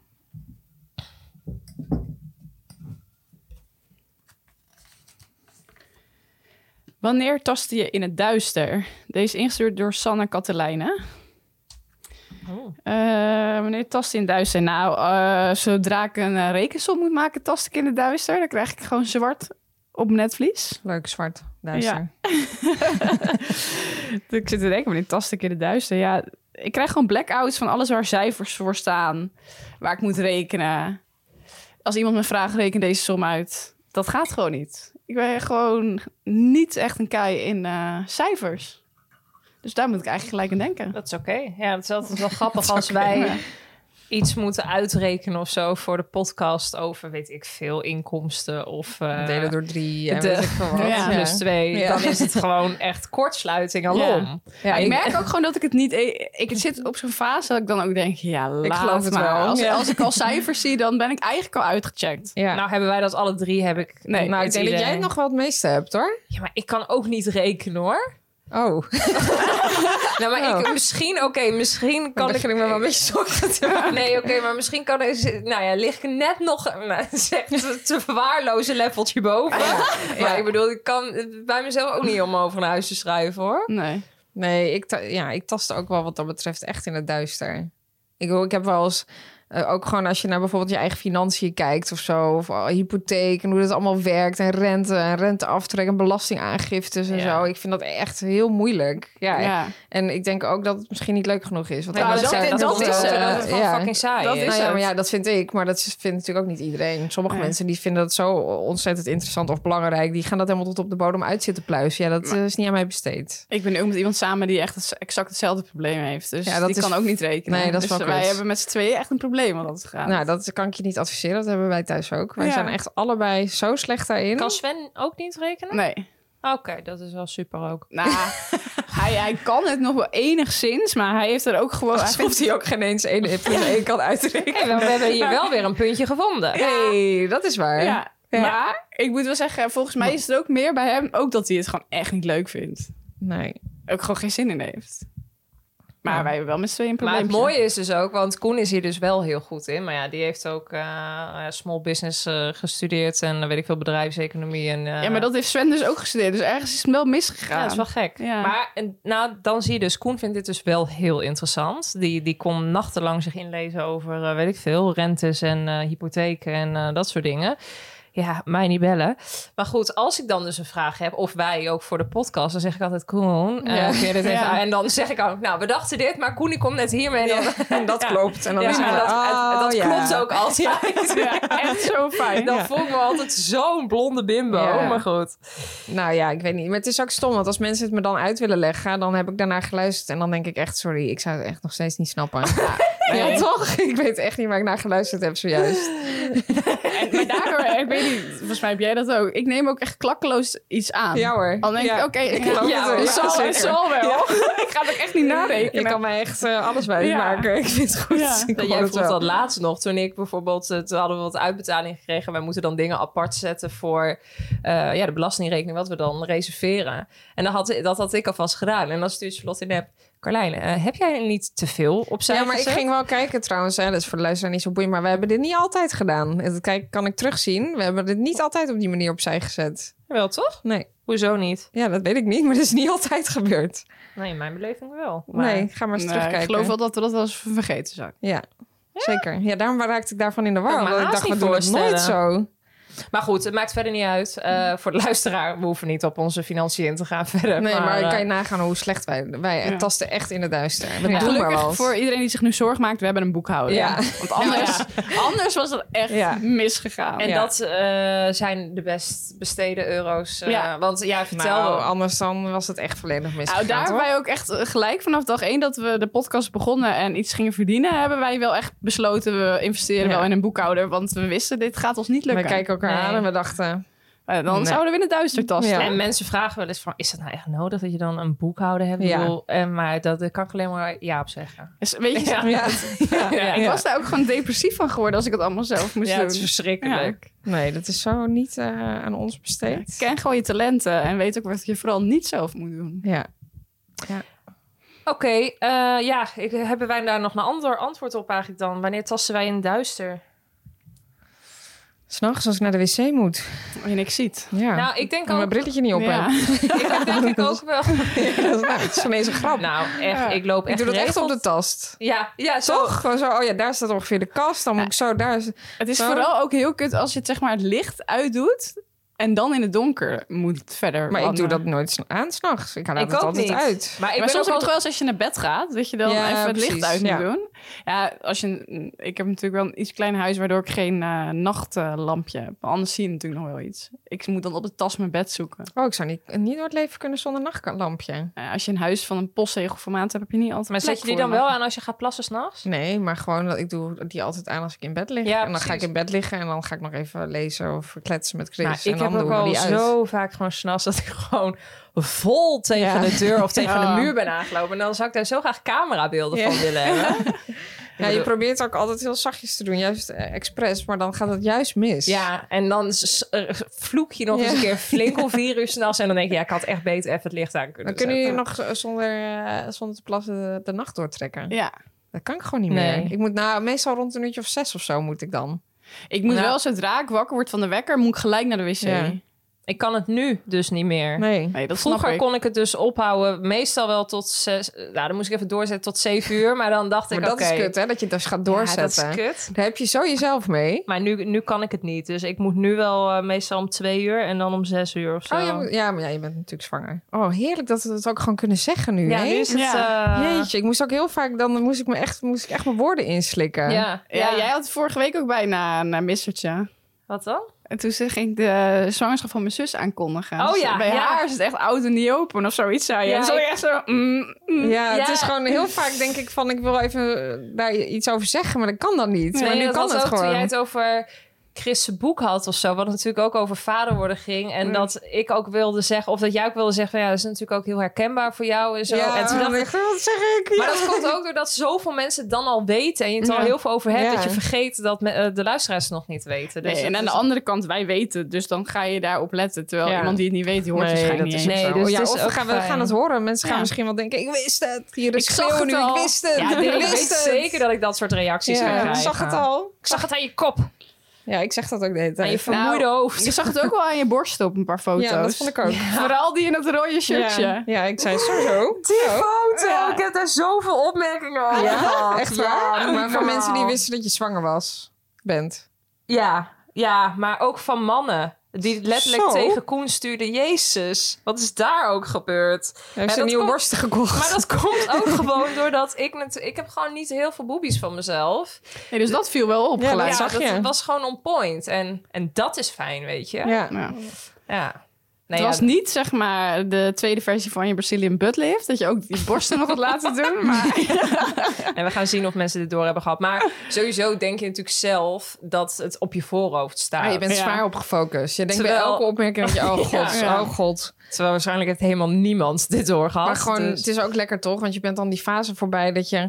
[SPEAKER 6] Wanneer tastte je in het duister? Deze is ingestuurd door Sanne Katelijne.
[SPEAKER 4] Oh.
[SPEAKER 6] Eh, wanneer tast je in het duister? Nou, eh, zodra ik een eh, rekensom moet maken, tast ik in het duister. Dan krijg ik gewoon zwart op mijn netvlies.
[SPEAKER 5] Leuk, zwart, duister.
[SPEAKER 6] Ja. Dus ik zit te denken, wanneer tast ik in het duister? Ja, ik krijg gewoon blackouts van alles waar cijfers voor staan. Waar ik moet rekenen. Als iemand me vraagt, reken deze som uit. Dat gaat gewoon niet. Ik ben gewoon niet echt een kei in eh, cijfers. Dus daar moet ik eigenlijk gelijk aan denken.
[SPEAKER 4] Dat is oké. Ja, het is altijd wel grappig als wij iets moeten uitrekenen of zo voor de podcast over, weet ik veel, inkomsten of... eh,
[SPEAKER 5] Delen door drie. en
[SPEAKER 4] de-
[SPEAKER 5] weet ik veel wat.
[SPEAKER 6] Ja.
[SPEAKER 4] Plus twee,
[SPEAKER 5] Ja.
[SPEAKER 4] dan is het gewoon echt kortsluiting alom.
[SPEAKER 5] Ja,
[SPEAKER 6] ik
[SPEAKER 5] ik-
[SPEAKER 6] merk ook gewoon dat ik het niet... e- Ik zit op zo'n fase dat ik dan ook denk, ja, laat
[SPEAKER 5] geloof het
[SPEAKER 6] maar.
[SPEAKER 5] wel.
[SPEAKER 6] Als,
[SPEAKER 5] Ja.
[SPEAKER 6] als ik al cijfers zie, dan ben ik eigenlijk al uitgecheckt.
[SPEAKER 5] Ja.
[SPEAKER 4] Nou hebben wij dat alle drie, heb ik. eh,
[SPEAKER 6] Nee,
[SPEAKER 4] niet
[SPEAKER 5] nou, ik
[SPEAKER 4] het
[SPEAKER 5] denk dat
[SPEAKER 4] idee.
[SPEAKER 5] jij het nog wel het meeste hebt, hoor.
[SPEAKER 4] Ja, maar ik kan ook niet rekenen hoor.
[SPEAKER 5] Oh,
[SPEAKER 4] Nou, maar ik, misschien, oké, misschien kan ik...
[SPEAKER 5] begin Oh. ik me wel een beetje zorgen te maken.
[SPEAKER 4] Nee, oké, maar misschien kan ik... Nou ja, lig ik net nog nou, zeg, te, te verwaarlozen leveltje
[SPEAKER 5] Ah,
[SPEAKER 4] boven. Maar ik bedoel, ik kan het bij mezelf ook niet om over naar huis te schrijven, hoor.
[SPEAKER 6] Nee.
[SPEAKER 5] Nee, ik, ta- ja, ik tastte ook wel wat dat betreft echt in het duister. Ik, wil- ik heb wel eens, eh, ook gewoon als je naar bijvoorbeeld je eigen financiën kijkt of zo, of oh, hypotheek en hoe dat allemaal werkt, en rente en renteaftrek en belastingaangiftes en
[SPEAKER 4] Ja.
[SPEAKER 5] zo. Ik vind dat echt heel moeilijk. Ja,
[SPEAKER 6] Ja.
[SPEAKER 5] En ik denk ook dat het misschien niet leuk genoeg is. Want
[SPEAKER 4] Nee, maar
[SPEAKER 5] anders
[SPEAKER 4] dat,
[SPEAKER 5] zou je
[SPEAKER 4] dat,
[SPEAKER 5] dan
[SPEAKER 4] is
[SPEAKER 5] wel,
[SPEAKER 4] het.
[SPEAKER 5] eh,
[SPEAKER 4] dat het gewoon
[SPEAKER 5] ja.
[SPEAKER 4] fucking saai
[SPEAKER 6] Dat
[SPEAKER 4] is.
[SPEAKER 6] is
[SPEAKER 5] Nou ja,
[SPEAKER 6] het.
[SPEAKER 5] maar ja, dat vind ik. Maar dat is- vindt natuurlijk ook niet iedereen. Sommige
[SPEAKER 6] Nee.
[SPEAKER 5] mensen die vinden dat zo ontzettend interessant of belangrijk. Die gaan dat helemaal tot op de bodem uit zitten pluizen. Ja, dat eh, is niet aan mij besteed.
[SPEAKER 6] Ik ben ook met iemand samen die echt het- exact hetzelfde probleem heeft. Dus
[SPEAKER 5] Ja, dat
[SPEAKER 6] die
[SPEAKER 5] is-
[SPEAKER 6] kan ook niet rekenen.
[SPEAKER 5] Nee, dat is
[SPEAKER 6] dus
[SPEAKER 5] wel
[SPEAKER 6] wij
[SPEAKER 5] kut.
[SPEAKER 6] hebben met z'n tweeën echt een probleem wat dat gaat.
[SPEAKER 5] Nou, dat kan ik je niet adviseren. Dat hebben wij thuis ook. Wij
[SPEAKER 6] Ja.
[SPEAKER 5] zijn echt allebei zo slecht daarin.
[SPEAKER 4] Kan Sven ook niet rekenen?
[SPEAKER 6] Nee.
[SPEAKER 4] Oké, dat is wel super ook.
[SPEAKER 6] Nou, hij, hij kan het nog wel enigszins, maar hij heeft er ook gewoon... hij vindt-
[SPEAKER 5] Alsof hij ook geen eens één van de één kan uitrekenen.
[SPEAKER 4] we hebben hier wel weer een puntje gevonden.
[SPEAKER 5] Nee, dat is waar.
[SPEAKER 6] Ja. Maar ik moet wel zeggen, volgens mij is het ook meer bij hem ook dat hij het gewoon echt niet leuk vindt.
[SPEAKER 5] Nee.
[SPEAKER 6] Ook gewoon geen zin in heeft. Maar wij hebben wel met z'n tweeën een
[SPEAKER 4] Maar
[SPEAKER 6] probleem.
[SPEAKER 4] het mooie is dus ook, want Koen is hier dus wel heel goed in. Maar ja, die heeft ook eh, eh, small business eh, gestudeerd en eh, weet ik veel bedrijfseconomie. En, eh,
[SPEAKER 6] Ja, maar dat heeft Sven dus ook gestudeerd. Dus ergens is het wel misgegaan.
[SPEAKER 4] Ja, dat is wel gek.
[SPEAKER 6] Ja.
[SPEAKER 4] Maar en, nou, dan zie je dus, Koen vindt dit dus wel heel interessant. Die, die kon nachtenlang zich inlezen over, eh, weet ik veel, rentes en eh, hypotheken en eh, dat soort dingen. Ja, mij niet bellen. Maar goed, als ik dan dus een vraag heb, of wij ook voor de podcast, dan zeg ik altijd Koen. eh,
[SPEAKER 5] Ja.
[SPEAKER 4] kun je dit even-
[SPEAKER 6] Ja.
[SPEAKER 4] En dan zeg ik ook, nou, we dachten dit, maar Koen die komt net hiermee. En dan,
[SPEAKER 5] En dat klopt. En dan
[SPEAKER 4] Ja,
[SPEAKER 5] is het
[SPEAKER 4] maar dat,
[SPEAKER 5] oh,
[SPEAKER 4] het- dat
[SPEAKER 5] ja.
[SPEAKER 4] klopt ook altijd.
[SPEAKER 6] Ja, echt zo fijn.
[SPEAKER 4] Dan voel ik me altijd zo'n blonde bimbo.
[SPEAKER 5] Ja.
[SPEAKER 4] Maar goed.
[SPEAKER 5] Nou ja, ik weet niet. Maar het is ook stom, want als mensen het me dan uit willen leggen, dan heb ik daarna geluisterd en dan denk ik echt, sorry, ik zou het echt nog steeds niet snappen. Ja, ja, toch? Ik weet echt niet waar ik naar geluisterd heb zojuist.
[SPEAKER 6] En, maar daardoor, eh, ik weet niet, volgens mij heb jij dat ook. Ik neem ook echt klakkeloos iets aan.
[SPEAKER 5] Ja hoor.
[SPEAKER 6] Dan denk ik,
[SPEAKER 5] Ja.
[SPEAKER 6] oké, ik geloof
[SPEAKER 5] Ja,
[SPEAKER 6] het wel.
[SPEAKER 5] ja,
[SPEAKER 6] Het zal- het
[SPEAKER 5] zeker.
[SPEAKER 6] zal wel. Ik ga het ook echt niet
[SPEAKER 5] Je
[SPEAKER 6] narekenen.
[SPEAKER 5] kan mij echt eh, alles wijs
[SPEAKER 6] Ja.
[SPEAKER 5] maken. Ik vind het goed.
[SPEAKER 6] Ja.
[SPEAKER 5] Ik
[SPEAKER 4] Dat
[SPEAKER 5] hoor
[SPEAKER 4] jij
[SPEAKER 5] het
[SPEAKER 4] vond
[SPEAKER 5] wel.
[SPEAKER 4] dat laatst nog, toen ik bijvoorbeeld, eh, toen hadden we wat uitbetaling gekregen. Wij moeten dan dingen apart zetten voor eh, ja, de belastingrekening, wat we dan reserveren. En dat had, dat had ik alvast gedaan. En dan stuurt Charlotte in de app, Carlijn, eh, heb jij niet te veel opzij
[SPEAKER 5] Ja, maar ik
[SPEAKER 4] gezet?"
[SPEAKER 5] ging wel kijken trouwens. Hè. Dat is voor de luisteraar niet zo boeiend. Maar we hebben dit niet altijd gedaan. En Dat kijk, kan ik terugzien. We hebben dit niet altijd op die manier opzij gezet.
[SPEAKER 4] Wel toch?
[SPEAKER 5] Nee.
[SPEAKER 4] Hoezo niet?
[SPEAKER 5] Ja, dat weet ik niet. Maar dat is niet altijd gebeurd.
[SPEAKER 4] Nee, in mijn beleving wel. Maar...
[SPEAKER 5] Nee, ga maar eens
[SPEAKER 6] Nee,
[SPEAKER 5] terugkijken.
[SPEAKER 6] ik geloof wel dat we dat wel eens vergeten zijn.
[SPEAKER 5] Ja, zeker. Ja, daarom raakte ik daarvan in de war.
[SPEAKER 4] Kan ik me
[SPEAKER 5] Omdat ik
[SPEAKER 4] haast
[SPEAKER 5] dacht,
[SPEAKER 4] niet
[SPEAKER 5] we doen het nooit
[SPEAKER 4] voorstellen.
[SPEAKER 5] zo.
[SPEAKER 4] maar goed, het maakt verder niet uit. eh, voor de luisteraar, we hoeven niet op onze financiën in te gaan verder.
[SPEAKER 5] Nee, maar,
[SPEAKER 4] eh,
[SPEAKER 5] kan je nagaan hoe slecht wij... Wij
[SPEAKER 6] Ja.
[SPEAKER 5] tasten echt in het duister. We
[SPEAKER 4] Ja.
[SPEAKER 5] doen maar
[SPEAKER 6] Gelukkig
[SPEAKER 5] wat.
[SPEAKER 6] voor iedereen die zich nu zorg maakt, we hebben een boekhouder.
[SPEAKER 5] Ja.
[SPEAKER 6] Want anders, anders was dat echt
[SPEAKER 5] Ja.
[SPEAKER 6] misgegaan.
[SPEAKER 4] En
[SPEAKER 5] Ja.
[SPEAKER 4] dat eh, zijn de best besteden euro's. eh,
[SPEAKER 6] Ja.
[SPEAKER 4] Want ja, vertel.
[SPEAKER 5] Nou, anders dan was het echt volledig misgegaan,
[SPEAKER 6] Nou, daar hebben
[SPEAKER 5] hoor.
[SPEAKER 6] wij ook echt eh, gelijk vanaf dag één dat we de podcast begonnen en iets gingen verdienen, hebben wij wel echt besloten, we investeren
[SPEAKER 5] Ja.
[SPEAKER 6] wel in een boekhouder, want we wisten, dit gaat ons niet
[SPEAKER 5] We
[SPEAKER 6] lukken.
[SPEAKER 5] kijken elkaar
[SPEAKER 4] Nee.
[SPEAKER 5] aan en we dachten...
[SPEAKER 6] Eh, dan
[SPEAKER 5] Nee.
[SPEAKER 6] zouden we in het duister tasten.
[SPEAKER 5] Ja.
[SPEAKER 4] En mensen vragen wel eens van, is dat nou echt nodig dat je dan een boekhouder hebt?
[SPEAKER 5] Ja.
[SPEAKER 4] Ik bedoel, en, maar dat daar kan ik alleen maar ja op zeggen.
[SPEAKER 6] Dus weet je,
[SPEAKER 5] Ja,
[SPEAKER 4] Ja.
[SPEAKER 6] ik was daar ook gewoon depressief van geworden als ik het allemaal zelf moest doen.
[SPEAKER 4] verschrikkelijk.
[SPEAKER 5] Nee, dat is zo niet eh, aan ons besteed.
[SPEAKER 6] Ken gewoon je talenten en weet ook wat je vooral niet zelf moet doen.
[SPEAKER 5] Ja.
[SPEAKER 4] Oké, eh, ja, ik, hebben wij daar nog een ander antwoord op eigenlijk dan? Wanneer tasten wij in het duister?
[SPEAKER 5] S'nachts als ik naar de wc moet.
[SPEAKER 6] Wanneer je niks ziet.
[SPEAKER 5] Ja.
[SPEAKER 4] Nou, ik denk
[SPEAKER 5] en mijn
[SPEAKER 4] ook,
[SPEAKER 5] brilletje niet op
[SPEAKER 6] Ja.
[SPEAKER 5] heb.
[SPEAKER 4] ik denk, denk ik ook wel.
[SPEAKER 5] Ja, dat is- nou, het is ineens een grap.
[SPEAKER 4] Nou, echt,
[SPEAKER 6] Ja.
[SPEAKER 4] ik loop
[SPEAKER 5] ik
[SPEAKER 4] echt
[SPEAKER 5] doe dat echt op
[SPEAKER 4] geregeld-
[SPEAKER 5] de tast.
[SPEAKER 4] Ja, ja, zo.
[SPEAKER 5] Toch? Gewoon zo, oh ja, daar staat ongeveer de kast. Dan moet ik zo, daar is...
[SPEAKER 6] Het is
[SPEAKER 5] Zo.
[SPEAKER 6] vooral ook heel kut als je het, zeg maar, het licht uitdoet en dan in het donker moet verder.
[SPEAKER 5] Maar ik doe
[SPEAKER 6] wandelen.
[SPEAKER 5] dat nooit sna- aan s'nachts. Ik haal
[SPEAKER 4] Ik
[SPEAKER 5] het
[SPEAKER 4] ook
[SPEAKER 5] altijd
[SPEAKER 4] niet.
[SPEAKER 5] uit.
[SPEAKER 4] Maar ik
[SPEAKER 6] maar
[SPEAKER 4] ben
[SPEAKER 6] soms
[SPEAKER 4] ook wel
[SPEAKER 6] heb ik wel eens als je naar bed gaat, dat je dan
[SPEAKER 5] Ja,
[SPEAKER 6] even het licht
[SPEAKER 5] precies,
[SPEAKER 6] uit moet
[SPEAKER 5] ja.
[SPEAKER 6] doen. Ja, als je, ik heb natuurlijk wel een iets klein huis waardoor ik geen eh, nachtlampje heb. Anders zie je natuurlijk nog wel iets. Ik moet dan op de tas mijn bed zoeken.
[SPEAKER 5] Oh, ik zou niet, niet door het leven kunnen zonder nachtlampje.
[SPEAKER 6] Nou ja, als je een huis van een postzegelformaat hebt, heb je niet altijd
[SPEAKER 4] Maar
[SPEAKER 6] plek
[SPEAKER 4] zet je die
[SPEAKER 6] voor
[SPEAKER 4] dan
[SPEAKER 6] nog.
[SPEAKER 4] wel aan als je gaat plassen s'nachts?
[SPEAKER 5] Nee, maar gewoon, dat ik doe die altijd aan als ik in bed lig.
[SPEAKER 4] Ja,
[SPEAKER 5] en dan ga ik
[SPEAKER 4] precies.
[SPEAKER 5] in bed liggen en dan ga ik nog even lezen of kletsen met Chris.
[SPEAKER 4] Nou,
[SPEAKER 5] en
[SPEAKER 4] ik
[SPEAKER 5] dus dan
[SPEAKER 4] heb ook
[SPEAKER 5] doen we
[SPEAKER 4] al
[SPEAKER 5] die uit.
[SPEAKER 4] zo vaak gewoon s'nachts dat ik gewoon vol tegen
[SPEAKER 5] Ja.
[SPEAKER 4] de deur of tegen
[SPEAKER 6] Ja.
[SPEAKER 4] de muur ben aangelopen. En dan zou ik daar zo graag camerabeelden
[SPEAKER 5] Ja.
[SPEAKER 4] van willen hebben.
[SPEAKER 5] Ja, je probeert ook altijd heel zachtjes te doen, juist eh, expres, maar dan gaat het juist mis.
[SPEAKER 4] Ja, en dan s- eh, vloek je nog
[SPEAKER 5] Ja.
[SPEAKER 4] eens een keer flink om vier uur s'nachts. En dan denk je, ja, ik had echt beter even het licht aan kunnen
[SPEAKER 5] Dan kunnen jullie
[SPEAKER 4] zetten.
[SPEAKER 5] nog eh, zonder, eh, zonder te plassen de, de nacht doortrekken.
[SPEAKER 6] Ja.
[SPEAKER 5] Dat kan ik gewoon niet
[SPEAKER 4] Nee.
[SPEAKER 5] meer. Ik moet nou, meestal rond een uurtje of zes of zo moet ik dan.
[SPEAKER 6] Ik moet
[SPEAKER 4] Nou.
[SPEAKER 6] wel, zodra ik wakker word van de wekker, moet ik gelijk naar de wc.
[SPEAKER 5] Ja.
[SPEAKER 4] Ik kan het nu dus niet meer.
[SPEAKER 5] Nee.
[SPEAKER 6] Nee, dat snap
[SPEAKER 4] Vroeger
[SPEAKER 6] ik.
[SPEAKER 4] kon ik het dus ophouden, meestal wel tot zes. Nou, dan moest ik even doorzetten tot zeven uur. Maar dan dacht
[SPEAKER 5] Maar
[SPEAKER 4] ik,
[SPEAKER 5] dat
[SPEAKER 4] oké.
[SPEAKER 5] is kut, hè? Dat je dat gaat
[SPEAKER 4] Ja, dat
[SPEAKER 5] doorzetten.
[SPEAKER 4] is kut.
[SPEAKER 5] Daar heb je zo jezelf mee.
[SPEAKER 4] Maar nu, nu kan ik het niet. Dus ik moet nu wel eh, meestal om twee uur en dan om zes uur of zo.
[SPEAKER 5] Oh, ja, maar- ja, maar ja, je bent natuurlijk zwanger. Oh, heerlijk dat we dat ook gewoon kunnen zeggen nu.
[SPEAKER 4] Ja,
[SPEAKER 5] hè?
[SPEAKER 4] nu is het... eh,
[SPEAKER 5] Jeetje, ik moest ook heel vaak, dan moest ik, me echt, moest ik echt mijn woorden inslikken.
[SPEAKER 4] ja.
[SPEAKER 6] Ja, jij had vorige week ook bijna een eh, missertje.
[SPEAKER 4] Wat dan?
[SPEAKER 6] En toen ze- ging ik de zwangerschap van mijn zus aankondigen.
[SPEAKER 4] Oh
[SPEAKER 6] Dus
[SPEAKER 4] ja,
[SPEAKER 6] Bij
[SPEAKER 4] ja.
[SPEAKER 6] haar is het echt oud en niet open of zoiets, zei je.
[SPEAKER 4] Ja,
[SPEAKER 6] en zo
[SPEAKER 4] ik-
[SPEAKER 6] echt zo... mm, mm.
[SPEAKER 5] Ja, het
[SPEAKER 4] Ja.
[SPEAKER 5] is gewoon heel vaak denk ik van ik wil even eh, daar iets over zeggen, maar dat kan dan niet. maar
[SPEAKER 4] Nee,
[SPEAKER 5] nu
[SPEAKER 4] dat
[SPEAKER 5] kan
[SPEAKER 4] was
[SPEAKER 5] het
[SPEAKER 4] ook toen
[SPEAKER 5] gewoon.
[SPEAKER 4] jij het over Chris' boek had of zo. Wat natuurlijk ook over vader worden ging.
[SPEAKER 5] Mm.
[SPEAKER 4] En dat ik ook wilde zeggen, of dat jij ook wilde zeggen... van ja, dat is natuurlijk ook heel herkenbaar voor jou en zo.
[SPEAKER 5] Ja,
[SPEAKER 4] en toen dacht ik,
[SPEAKER 5] echt, wat zeg ik?
[SPEAKER 4] maar
[SPEAKER 5] Ja.
[SPEAKER 4] dat komt ook doordat zoveel mensen het dan al weten... en je het al
[SPEAKER 5] Ja.
[SPEAKER 4] heel veel over hebt...
[SPEAKER 5] Ja.
[SPEAKER 4] dat je vergeet dat me- eh, de luisteraars het nog niet weten. Dus
[SPEAKER 6] Nee, en
[SPEAKER 4] het
[SPEAKER 6] aan
[SPEAKER 4] is-
[SPEAKER 6] de andere kant, wij weten het, dus dan ga je daarop letten. Terwijl
[SPEAKER 4] Ja.
[SPEAKER 6] iemand die het niet weet, die hoort
[SPEAKER 5] Nee,
[SPEAKER 6] waarschijnlijk
[SPEAKER 5] dat
[SPEAKER 6] niet
[SPEAKER 5] is
[SPEAKER 6] eens.
[SPEAKER 4] Nee,
[SPEAKER 5] nee,
[SPEAKER 4] dus
[SPEAKER 5] dus ja,
[SPEAKER 4] het is
[SPEAKER 5] of we
[SPEAKER 4] ook
[SPEAKER 5] gaan, we
[SPEAKER 4] fijn.
[SPEAKER 5] gaan het horen. Mensen gaan
[SPEAKER 6] Ja.
[SPEAKER 5] misschien wel denken, ik wist het. Hier
[SPEAKER 4] Ik
[SPEAKER 5] is
[SPEAKER 4] zag
[SPEAKER 5] schreeuwen
[SPEAKER 4] het
[SPEAKER 5] nu,
[SPEAKER 4] al.
[SPEAKER 5] ik wist het.
[SPEAKER 4] Ja,
[SPEAKER 5] ik
[SPEAKER 4] ik
[SPEAKER 5] wist
[SPEAKER 4] weet
[SPEAKER 5] het.
[SPEAKER 4] zeker dat ik dat soort reacties ga
[SPEAKER 5] Ja, ik
[SPEAKER 4] krijgen.
[SPEAKER 5] zag het al.
[SPEAKER 4] Ik zag het aan je kop,
[SPEAKER 5] Ja, ik zeg dat ook de hele
[SPEAKER 4] aan je
[SPEAKER 5] tijd.
[SPEAKER 4] vermoeide hoofd.
[SPEAKER 6] Je zag het ook wel aan je borst op een paar foto's.
[SPEAKER 5] Ja, dat vond ik ook.
[SPEAKER 6] Vooral die in het rode shirtje.
[SPEAKER 5] Ja, ja, ik zei sowieso. Zo.
[SPEAKER 4] foto, ik heb daar zoveel opmerkingen over
[SPEAKER 5] Ja, echt waar. maar voor mensen die wisten dat je zwanger was, bent.
[SPEAKER 4] Ja, ja, maar ook van mannen. Die letterlijk
[SPEAKER 5] Zo.
[SPEAKER 4] tegen Koen stuurden... Jezus, wat is daar ook gebeurd?
[SPEAKER 5] Heeft ze
[SPEAKER 4] dat
[SPEAKER 5] een nieuwe
[SPEAKER 4] komt-
[SPEAKER 5] borsten gekocht.
[SPEAKER 4] Maar dat komt ook gewoon doordat ik... natu- Ik heb gewoon niet heel veel boobies van mezelf.
[SPEAKER 6] Nee, dus dat viel wel op
[SPEAKER 5] Ja,
[SPEAKER 6] gelijk.
[SPEAKER 5] dat zag
[SPEAKER 4] dat
[SPEAKER 5] je.
[SPEAKER 4] was gewoon on point. En, en dat is fijn, weet je?
[SPEAKER 5] Ja.
[SPEAKER 6] Ja.
[SPEAKER 4] Ja. Nee,
[SPEAKER 6] Het
[SPEAKER 4] ja,
[SPEAKER 6] was niet zeg maar de tweede versie van je Brazilian buttlift. Dat je ook die borsten nog had laten doen. Maar
[SPEAKER 4] En we gaan zien of mensen dit door hebben gehad. Maar sowieso denk je natuurlijk zelf dat het op je voorhoofd staat.
[SPEAKER 5] Ah, je bent
[SPEAKER 6] Ja.
[SPEAKER 5] zwaar op gefocust. Je denkt bij
[SPEAKER 4] Terwijl-
[SPEAKER 5] elke opmerking dat je, oh god,
[SPEAKER 6] Ja.
[SPEAKER 5] oh god.
[SPEAKER 4] Terwijl waarschijnlijk heeft helemaal niemand dit doorgehad.
[SPEAKER 5] Maar gewoon,
[SPEAKER 4] dus-
[SPEAKER 5] het is ook lekker toch? Want je bent dan die fase voorbij dat je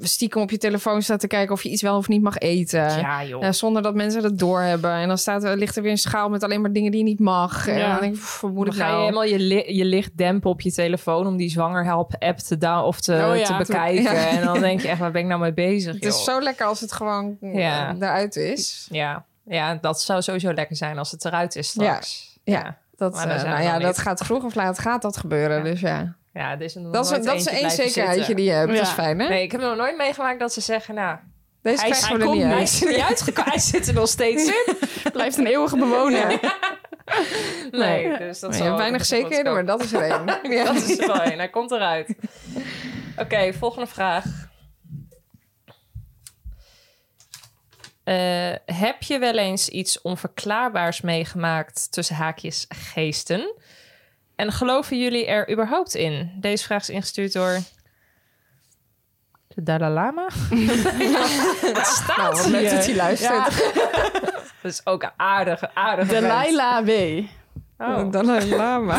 [SPEAKER 5] stiekem op je telefoon staat te kijken of je iets wel of niet mag eten.
[SPEAKER 4] Ja, joh.
[SPEAKER 5] Ja, zonder dat mensen dat doorhebben. En dan staat, er- ligt er weer een schaal met alleen maar dingen die je niet mag. En
[SPEAKER 6] Ja.
[SPEAKER 5] dan denk ik, pff, wat moet
[SPEAKER 4] Dan
[SPEAKER 5] ik
[SPEAKER 4] ga je
[SPEAKER 5] nou?
[SPEAKER 4] helemaal je, li- je licht dempen op je telefoon... om die zwangerhelp-app te, down- of te,
[SPEAKER 6] Oh ja,
[SPEAKER 4] te
[SPEAKER 6] toen-
[SPEAKER 4] bekijken.
[SPEAKER 5] ja.
[SPEAKER 4] En dan denk je echt, waar ben ik nou mee bezig,
[SPEAKER 5] Het is
[SPEAKER 4] joh?
[SPEAKER 5] zo lekker als het gewoon
[SPEAKER 4] Ja.
[SPEAKER 5] eh, eruit is.
[SPEAKER 4] Ja. ja, dat zou sowieso lekker zijn als het eruit is straks.
[SPEAKER 5] Ja. Dat,
[SPEAKER 4] Maar daar
[SPEAKER 5] eh,
[SPEAKER 4] zijn we
[SPEAKER 5] nou ja,
[SPEAKER 4] nog niet.
[SPEAKER 5] dat gaat vroeg of laat gaat dat gebeuren. Dus ja,
[SPEAKER 4] Ja, dit is een
[SPEAKER 5] dat is, dat is één zekerheidje die je hebt. Dat is
[SPEAKER 6] Ja.
[SPEAKER 5] fijn, hè?
[SPEAKER 4] Nee, ik heb nog nooit meegemaakt dat ze zeggen... nou,
[SPEAKER 5] Deze
[SPEAKER 4] hij,
[SPEAKER 5] krijgen
[SPEAKER 4] hij,
[SPEAKER 5] we er
[SPEAKER 4] komt-
[SPEAKER 5] niet
[SPEAKER 4] hij
[SPEAKER 5] uit.
[SPEAKER 4] is er niet uitgekomen. Hij zit er nog steeds in.
[SPEAKER 6] blijft een eeuwige bewoner.
[SPEAKER 4] Nee, dus dat is
[SPEAKER 5] Maar je hebt weinig zekerheden, maar dat is er één. Ja.
[SPEAKER 4] Dat is er wel een. Hij komt eruit. Oké, volgende vraag. Eh, heb je wel eens iets onverklaarbaars meegemaakt tussen haakjes geesten? En geloven jullie er überhaupt in? Deze vraag is ingestuurd door de Dalai Lama. Het staat
[SPEAKER 5] Nou, wat leuk
[SPEAKER 4] hier.
[SPEAKER 5] dat hij luistert.
[SPEAKER 4] Dat is ook een aardige, aardige vent.
[SPEAKER 6] Delilah W.
[SPEAKER 4] Oh.
[SPEAKER 5] Dan een lama.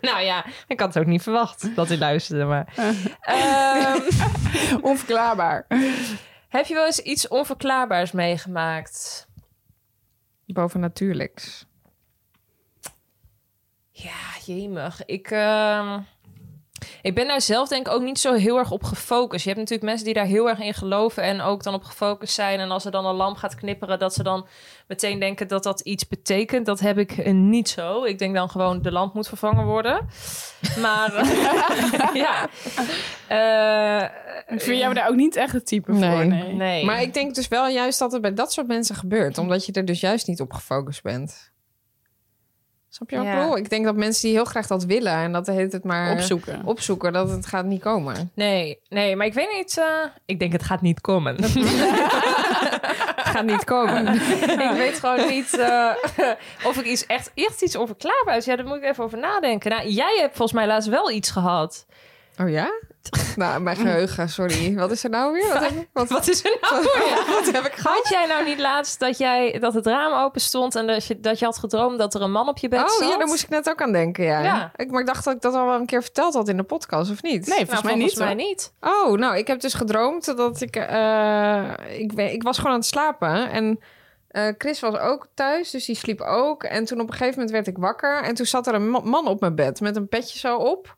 [SPEAKER 4] Nou ja, ik had het ook niet verwacht dat hij luisterde, maar... Ehm,
[SPEAKER 6] Onverklaarbaar.
[SPEAKER 4] Heb je wel eens iets onverklaarbaars meegemaakt?
[SPEAKER 5] Bovennatuurlijks.
[SPEAKER 4] Ja, Ah, jemig. Ik, ehm, ik ben daar zelf denk ik ook niet zo heel erg op gefocust. Je hebt natuurlijk mensen die daar heel erg in geloven en ook dan op gefocust zijn. En als er dan een lamp gaat knipperen, dat ze dan meteen denken dat dat iets betekent. Dat heb ik eh, niet zo. Ik denk dan gewoon de lamp moet vervangen worden. Maar ja. Eh,
[SPEAKER 6] Ik vind jou daar ook niet echt het type
[SPEAKER 5] Nee.
[SPEAKER 6] voor. Nee.
[SPEAKER 4] nee.
[SPEAKER 5] Maar ik denk dus wel juist dat het bij dat soort mensen gebeurt. Omdat je er dus juist niet op gefocust bent. Snap je wat ik
[SPEAKER 4] Ja.
[SPEAKER 5] bedoel? Ik denk dat mensen die heel graag dat willen en dat heet het maar
[SPEAKER 6] Opzoeken.
[SPEAKER 5] opzoeken, dat het gaat niet komen.
[SPEAKER 4] nee, nee, maar ik weet niet. eh, ik denk het gaat niet komen.
[SPEAKER 5] Het gaat niet komen.
[SPEAKER 4] ik weet gewoon niet eh, of ik iets echt, echt iets onverklaarbaars. Ja, daar moet ik even over nadenken. Nou, jij hebt volgens mij laatst wel iets gehad.
[SPEAKER 5] Oh ja? Nou, mijn geheugen, sorry. Wat is er nou weer? Wat heb ik, wat,
[SPEAKER 4] Wat is er nou?
[SPEAKER 5] wat heb ik gehad?
[SPEAKER 7] Had jij nou niet laatst dat, jij, dat het raam open stond en dat je, dat je had gedroomd dat er een man op je bed
[SPEAKER 5] Oh,
[SPEAKER 7] zat?
[SPEAKER 5] ja, daar moest ik net ook aan denken, ja.
[SPEAKER 7] Ja.
[SPEAKER 5] Ik, maar ik dacht dat ik dat al wel een keer verteld had in de podcast, of niet?
[SPEAKER 6] Nee, volgens
[SPEAKER 7] Nou,
[SPEAKER 6] mij niet.
[SPEAKER 7] volgens mij
[SPEAKER 6] hoor.
[SPEAKER 7] niet.
[SPEAKER 5] Oh, nou, ik heb dus gedroomd dat ik... eh, ik, ben- ik was gewoon aan het slapen en eh, Chris was ook thuis, dus die sliep ook. En toen op een gegeven moment werd ik wakker en toen zat er een ma- man op mijn bed met een petje zo op.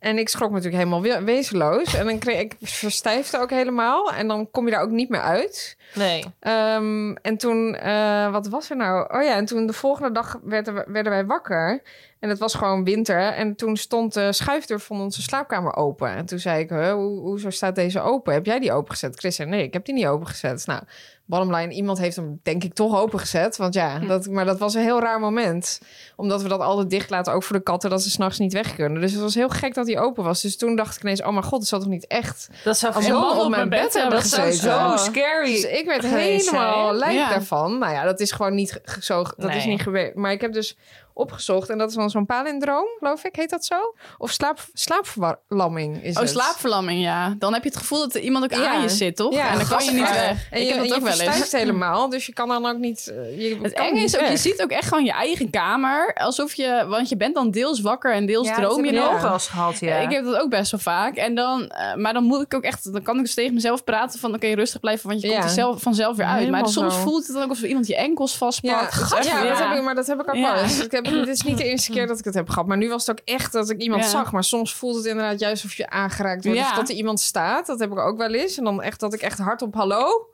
[SPEAKER 5] En ik schrok natuurlijk helemaal we- wezenloos. En dan kreeg ik verstijfde ook helemaal. En dan kom je daar ook niet meer uit.
[SPEAKER 7] Nee.
[SPEAKER 5] Ehm, en toen, eh, wat was er nou? Oh ja, en toen de volgende dag werden, we- werden wij wakker. En het was gewoon winter. En toen stond de schuifdeur van onze slaapkamer open. En toen zei ik, huh, hoe, hoezo staat deze open? Heb jij die opengezet? Chris zei, nee, ik heb die niet opengezet. Nou, bottom line, iemand heeft hem denk ik toch opengezet. Want ja, dat, maar dat was een heel raar moment. Omdat we dat altijd dicht laten, ook voor de katten, dat ze s'nachts niet weg kunnen. Dus het was heel gek dat die open was. Dus toen dacht ik ineens, oh mijn god, het zal toch niet echt...
[SPEAKER 4] Dat zou
[SPEAKER 5] Als een man op mijn bed hebben
[SPEAKER 4] Dat zou
[SPEAKER 5] gezeten.
[SPEAKER 4] zo
[SPEAKER 5] Oh.
[SPEAKER 4] scary.
[SPEAKER 5] Dus ik werd
[SPEAKER 4] geweest
[SPEAKER 5] helemaal
[SPEAKER 4] zijn.
[SPEAKER 5] lijk
[SPEAKER 6] Ja.
[SPEAKER 5] daarvan. Nou ja, dat is gewoon niet ge- zo. Dat
[SPEAKER 4] Nee.
[SPEAKER 5] is niet gebeurd. Maar ik heb dus opgezocht en dat is dan zo'n palindroom, geloof ik. Heet dat zo? Of slaap, slaapverlamming is
[SPEAKER 6] Oh,
[SPEAKER 5] het.
[SPEAKER 6] slaapverlamming, ja. Dan heb je het gevoel dat er iemand ook
[SPEAKER 5] Ja.
[SPEAKER 6] aan je zit, toch?
[SPEAKER 5] Ja,
[SPEAKER 6] en dan kan je niet
[SPEAKER 5] gastvrij.
[SPEAKER 6] weg.
[SPEAKER 5] En
[SPEAKER 6] ik
[SPEAKER 5] je,
[SPEAKER 6] heb
[SPEAKER 5] en
[SPEAKER 6] dat
[SPEAKER 5] je
[SPEAKER 6] ook wel eens.
[SPEAKER 5] verstijft helemaal, dus je kan dan ook niet... eh, Je
[SPEAKER 6] Het
[SPEAKER 5] kan
[SPEAKER 6] enge
[SPEAKER 5] niet
[SPEAKER 6] is ook, je
[SPEAKER 5] weg.
[SPEAKER 6] ziet ook echt gewoon je eigen kamer. Alsof je, want je bent dan deels wakker en deels
[SPEAKER 5] Ja, dat
[SPEAKER 6] droom
[SPEAKER 5] heb
[SPEAKER 6] je
[SPEAKER 5] ik ook
[SPEAKER 6] nog.
[SPEAKER 5] wel
[SPEAKER 4] eens gehad,
[SPEAKER 6] Ik heb dat ook best wel vaak. En dan, eh, maar dan moet ik ook echt, dan kan ik dus tegen mezelf praten van, oké, rustig blijven, want je
[SPEAKER 5] Ja.
[SPEAKER 6] komt er zelf, vanzelf weer uit.
[SPEAKER 5] Helemaal
[SPEAKER 6] maar soms
[SPEAKER 5] zo.
[SPEAKER 6] voelt het dan ook alsof iemand je enkels
[SPEAKER 5] Ja,
[SPEAKER 6] vastpakt.
[SPEAKER 5] ja,
[SPEAKER 6] Gadver-
[SPEAKER 5] dat heb ik, maar dat heb ik ook
[SPEAKER 6] Ja.
[SPEAKER 5] wel eens. Ik heb, dit is niet de eerste keer dat ik het heb gehad. Maar nu was het ook echt dat ik iemand
[SPEAKER 6] Ja.
[SPEAKER 5] zag. Maar soms voelt het inderdaad juist of je aangeraakt wordt.
[SPEAKER 6] Ja.
[SPEAKER 5] Of dat er iemand staat. Dat heb ik ook wel eens. En dan echt dat ik echt hard op hallo.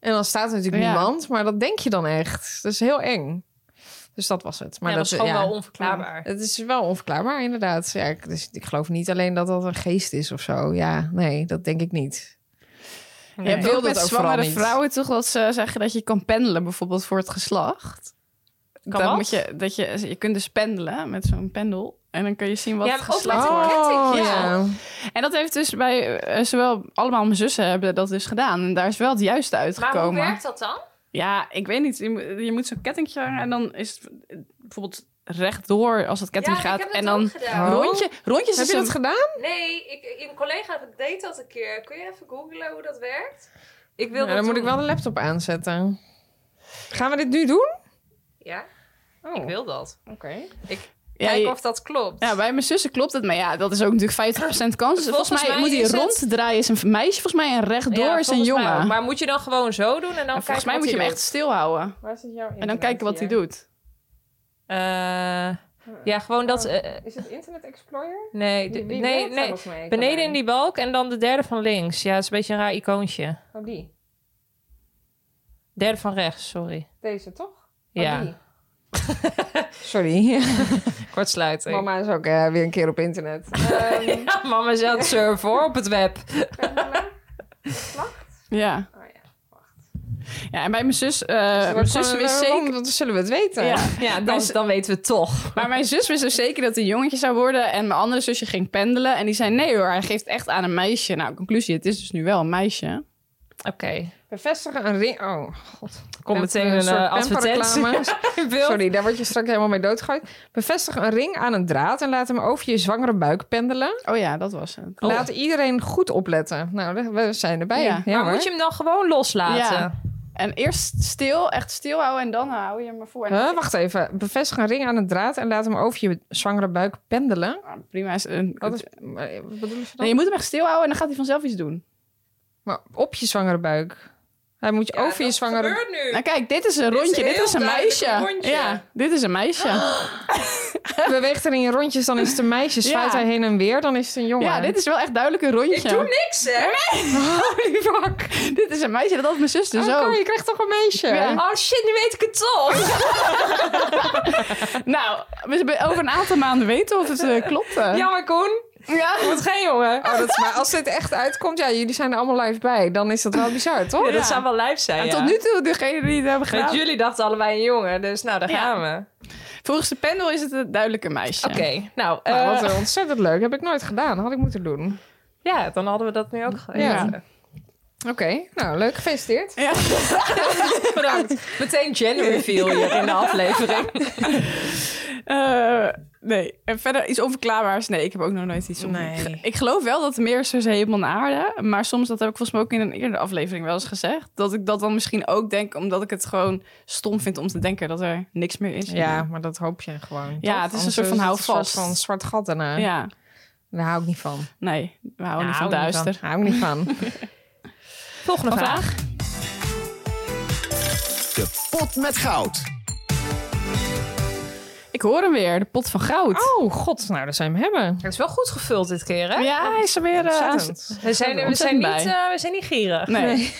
[SPEAKER 5] En dan staat er natuurlijk
[SPEAKER 6] Ja.
[SPEAKER 5] niemand. Maar dat denk je dan echt. Dat is heel eng. Dus dat was het. Maar
[SPEAKER 4] Maar dat is gewoon
[SPEAKER 5] ja.
[SPEAKER 4] wel onverklaarbaar.
[SPEAKER 5] Het is wel onverklaarbaar, inderdaad. Ja, ik, dus ik geloof niet alleen dat dat een geest is of zo. Ja, nee, dat denk ik niet.
[SPEAKER 6] Je hebt
[SPEAKER 5] wil
[SPEAKER 6] ook
[SPEAKER 5] dat
[SPEAKER 6] met
[SPEAKER 5] ook vooral
[SPEAKER 6] zwangere
[SPEAKER 5] niet.
[SPEAKER 6] vrouwen toch dat ze zeggen dat je kan pendelen, bijvoorbeeld voor het geslacht.
[SPEAKER 4] Kan
[SPEAKER 6] dan
[SPEAKER 4] wat?
[SPEAKER 6] moet je, dat je, je kunt dus pendelen met zo'n pendel. En dan kun je zien wat
[SPEAKER 4] Ja,
[SPEAKER 6] het
[SPEAKER 4] maar ook
[SPEAKER 6] geslacht
[SPEAKER 4] met een
[SPEAKER 6] wordt.
[SPEAKER 4] kettingje.
[SPEAKER 5] ja.
[SPEAKER 6] En dat heeft dus bij eh, zowel allemaal mijn zussen hebben dat dus gedaan. En daar is wel het juiste
[SPEAKER 4] Maar hoe
[SPEAKER 6] uitgekomen.
[SPEAKER 4] werkt dat dan?
[SPEAKER 6] Ja, ik weet niet. Je moet, je moet zo'n kettingje hangen en dan is het eh, bijvoorbeeld rechtdoor als dat ketting gaat. en dan Oh.
[SPEAKER 4] gedaan.
[SPEAKER 5] Oh.
[SPEAKER 6] rondje, rondjes
[SPEAKER 5] Heb
[SPEAKER 6] is
[SPEAKER 5] je dat
[SPEAKER 6] een-
[SPEAKER 5] gedaan?
[SPEAKER 4] Nee, ik, een collega deed dat een keer. Kun je even googlen hoe dat werkt? Ik wil
[SPEAKER 5] Ja, dan moet ik wel de laptop aanzetten. Gaan we dit nu doen?
[SPEAKER 4] Ja,
[SPEAKER 5] Oh,
[SPEAKER 4] ik wil dat.
[SPEAKER 5] oké.
[SPEAKER 6] Ja,
[SPEAKER 4] Kijk
[SPEAKER 6] je-
[SPEAKER 4] of dat klopt.
[SPEAKER 6] ja, bij mijn zussen klopt het. Maar ja, dat is ook natuurlijk 50% kans. Volgens, mij,
[SPEAKER 4] mij
[SPEAKER 6] moet die
[SPEAKER 4] is het-
[SPEAKER 6] ronddraaien is een meisje. Volgens mij en rechtdoor
[SPEAKER 4] Ja,
[SPEAKER 6] is een
[SPEAKER 4] volgens mij
[SPEAKER 6] jongen.
[SPEAKER 4] ook. Maar moet je dan gewoon zo doen en dan
[SPEAKER 6] En volgens mij
[SPEAKER 4] kijken
[SPEAKER 6] moet je
[SPEAKER 4] wat
[SPEAKER 6] hem
[SPEAKER 4] hij
[SPEAKER 6] echt stil houden.
[SPEAKER 5] Waar zit jouw
[SPEAKER 6] En dan kijken wat hij doet.
[SPEAKER 4] doet? Eh, ja, gewoon
[SPEAKER 6] Oh.
[SPEAKER 4] dat... eh,
[SPEAKER 5] Is het Internet Explorer?
[SPEAKER 4] nee, de- nee, nee. Beneden in die balk en dan de derde van links. Ja, dat is een beetje een raar icoontje.
[SPEAKER 5] Oh, die.
[SPEAKER 4] Derde van rechts, sorry.
[SPEAKER 5] Deze, toch? Oh,
[SPEAKER 6] Oh,
[SPEAKER 4] Ja,
[SPEAKER 5] Sorry.
[SPEAKER 4] kortsluiting. Mama,
[SPEAKER 5] Mama is ook eh, weer een keer op internet. Ehm,
[SPEAKER 4] ja, mama is aan het surfen hoor, op het web.
[SPEAKER 6] Ja.
[SPEAKER 4] Oh,
[SPEAKER 6] Ja, en bij mijn zus, eh, mijn
[SPEAKER 5] wordt
[SPEAKER 6] zus
[SPEAKER 5] gewoon-
[SPEAKER 6] wist
[SPEAKER 5] waarom?
[SPEAKER 6] zeker...
[SPEAKER 5] Dan zullen we het weten.
[SPEAKER 6] Ja.
[SPEAKER 4] Ja, dan, dan weten we het toch.
[SPEAKER 6] Maar mijn zus wist dus zeker dat het een jongetje zou worden. En mijn andere zusje ging pendelen. En die zei, nee hoor, hij geeft echt aan een meisje. Nou, conclusie, het is dus nu wel een meisje.
[SPEAKER 4] Oké,
[SPEAKER 5] We vestigen een ring. Oh,
[SPEAKER 4] kom meteen een,
[SPEAKER 5] soort
[SPEAKER 4] eh, advertentie
[SPEAKER 5] pamperreclame.
[SPEAKER 4] in beeld.
[SPEAKER 5] Sorry, daar word je straks helemaal mee doodgegooid. Bevestig een ring aan een draad en laat hem over je zwangere buik pendelen.
[SPEAKER 6] Oh ja, dat was het.
[SPEAKER 5] Laat iedereen goed opletten. Nou, we zijn erbij.
[SPEAKER 6] Ja.
[SPEAKER 5] Ja,
[SPEAKER 4] Maar
[SPEAKER 5] hoor.
[SPEAKER 4] moet je hem dan gewoon loslaten?
[SPEAKER 6] Ja. En eerst stil, echt stil houden. En dan hou je hem maar voor. En
[SPEAKER 5] Huh, wacht even. Bevestig een ring aan een draad en laat hem over je zwangere buik pendelen.
[SPEAKER 6] Ah, prima. Is een...
[SPEAKER 5] Wat, is, eh, wat bedoelen ze dan?
[SPEAKER 6] Nee, je moet hem echt stil houden en dan gaat hij vanzelf iets doen.
[SPEAKER 5] Maar op je zwangere buik. Hij moet je over je zwangere...
[SPEAKER 6] Nou kijk, dit is een
[SPEAKER 4] is
[SPEAKER 6] rondje.
[SPEAKER 4] een
[SPEAKER 6] Dit is
[SPEAKER 4] heel
[SPEAKER 6] een
[SPEAKER 4] duidelijk
[SPEAKER 6] meisje.
[SPEAKER 4] rondje. Oh,
[SPEAKER 6] Ja, dit is een meisje.
[SPEAKER 5] Beweegt er in rondjes, dan is het een meisje. Zwaait
[SPEAKER 6] Ja.
[SPEAKER 5] hij heen en weer, dan is het een jongen.
[SPEAKER 6] Ja, dit is wel echt duidelijk een rondje.
[SPEAKER 4] niks, hè?
[SPEAKER 6] Holy fuck. Dit is een meisje, dat had mijn zus dus
[SPEAKER 5] Oh,
[SPEAKER 6] ook.
[SPEAKER 5] kom, je krijgt toch een meisje?
[SPEAKER 6] Ja.
[SPEAKER 4] Oh shit, nu weet ik het toch.
[SPEAKER 6] Nou, we hebben over een aantal maanden weten of het eh, klopt. eh.
[SPEAKER 4] Jammer, Koen.
[SPEAKER 6] Ja.
[SPEAKER 4] Moet geen jongen.
[SPEAKER 5] Oh, dat is- maar als dit echt uitkomt, ja, jullie zijn er allemaal live bij. Dan is dat wel bizar, toch?
[SPEAKER 4] Ja, dat zou wel lijf zijn,
[SPEAKER 6] En
[SPEAKER 4] ja.
[SPEAKER 6] tot nu toe, degene die het hebben
[SPEAKER 4] Want
[SPEAKER 6] gedaan.
[SPEAKER 4] jullie dachten allebei een jongen, dus nou, daar
[SPEAKER 6] Ja.
[SPEAKER 4] gaan we.
[SPEAKER 6] Volgens de pendel is het een duidelijke meisje.
[SPEAKER 4] Oké, nou, eh,
[SPEAKER 5] Nou, wat ontzettend leuk. Heb ik nooit gedaan. Had ik moeten doen.
[SPEAKER 4] ja, dan hadden we dat nu ook gehad.
[SPEAKER 5] Ja. Oké, nou leuk. Gefeliciteerd.
[SPEAKER 6] Ja.
[SPEAKER 4] Bedankt. Meteen gender reveal hier in de aflevering.
[SPEAKER 6] Eh, Nee. En verder iets onverklaarbaars. Nee, ik heb ook nog nooit iets onver-
[SPEAKER 5] Nee.
[SPEAKER 6] Ik geloof wel dat meer is tussen hemel en aarde. Maar soms, dat heb ik volgens mij ook in een eerdere aflevering wel eens gezegd. Dat ik dat dan misschien ook denk, omdat ik het gewoon stom vind om te denken dat er niks meer is.
[SPEAKER 5] Ja, maar dat hoop je gewoon.
[SPEAKER 6] Ja,
[SPEAKER 5] toch?
[SPEAKER 6] het is een
[SPEAKER 5] Anders
[SPEAKER 6] soort van
[SPEAKER 5] het
[SPEAKER 6] hou
[SPEAKER 5] een soort
[SPEAKER 6] vast.
[SPEAKER 5] van zwart gat daarna.
[SPEAKER 6] Ja.
[SPEAKER 5] Daar hou ik niet van.
[SPEAKER 6] Nee, we houden
[SPEAKER 5] Ja,
[SPEAKER 6] niet van
[SPEAKER 5] hou ik
[SPEAKER 6] duister.
[SPEAKER 5] Hou ik niet van.
[SPEAKER 4] Volgende
[SPEAKER 6] Een
[SPEAKER 4] vraag.
[SPEAKER 6] vraag?
[SPEAKER 3] De pot met goud.
[SPEAKER 6] Ik hoor hem weer, de pot van goud.
[SPEAKER 5] Oh, god. Nou, daar zijn we hem hebben.
[SPEAKER 4] Het is wel goed gevuld dit keer, hè?
[SPEAKER 6] ja, hij is er weer. eh, aan-
[SPEAKER 5] Ontzettend.
[SPEAKER 4] We zijn, we, zijn
[SPEAKER 6] Ontzettend
[SPEAKER 4] niet,
[SPEAKER 6] bij.
[SPEAKER 4] eh, we zijn niet gierig.
[SPEAKER 6] Nee.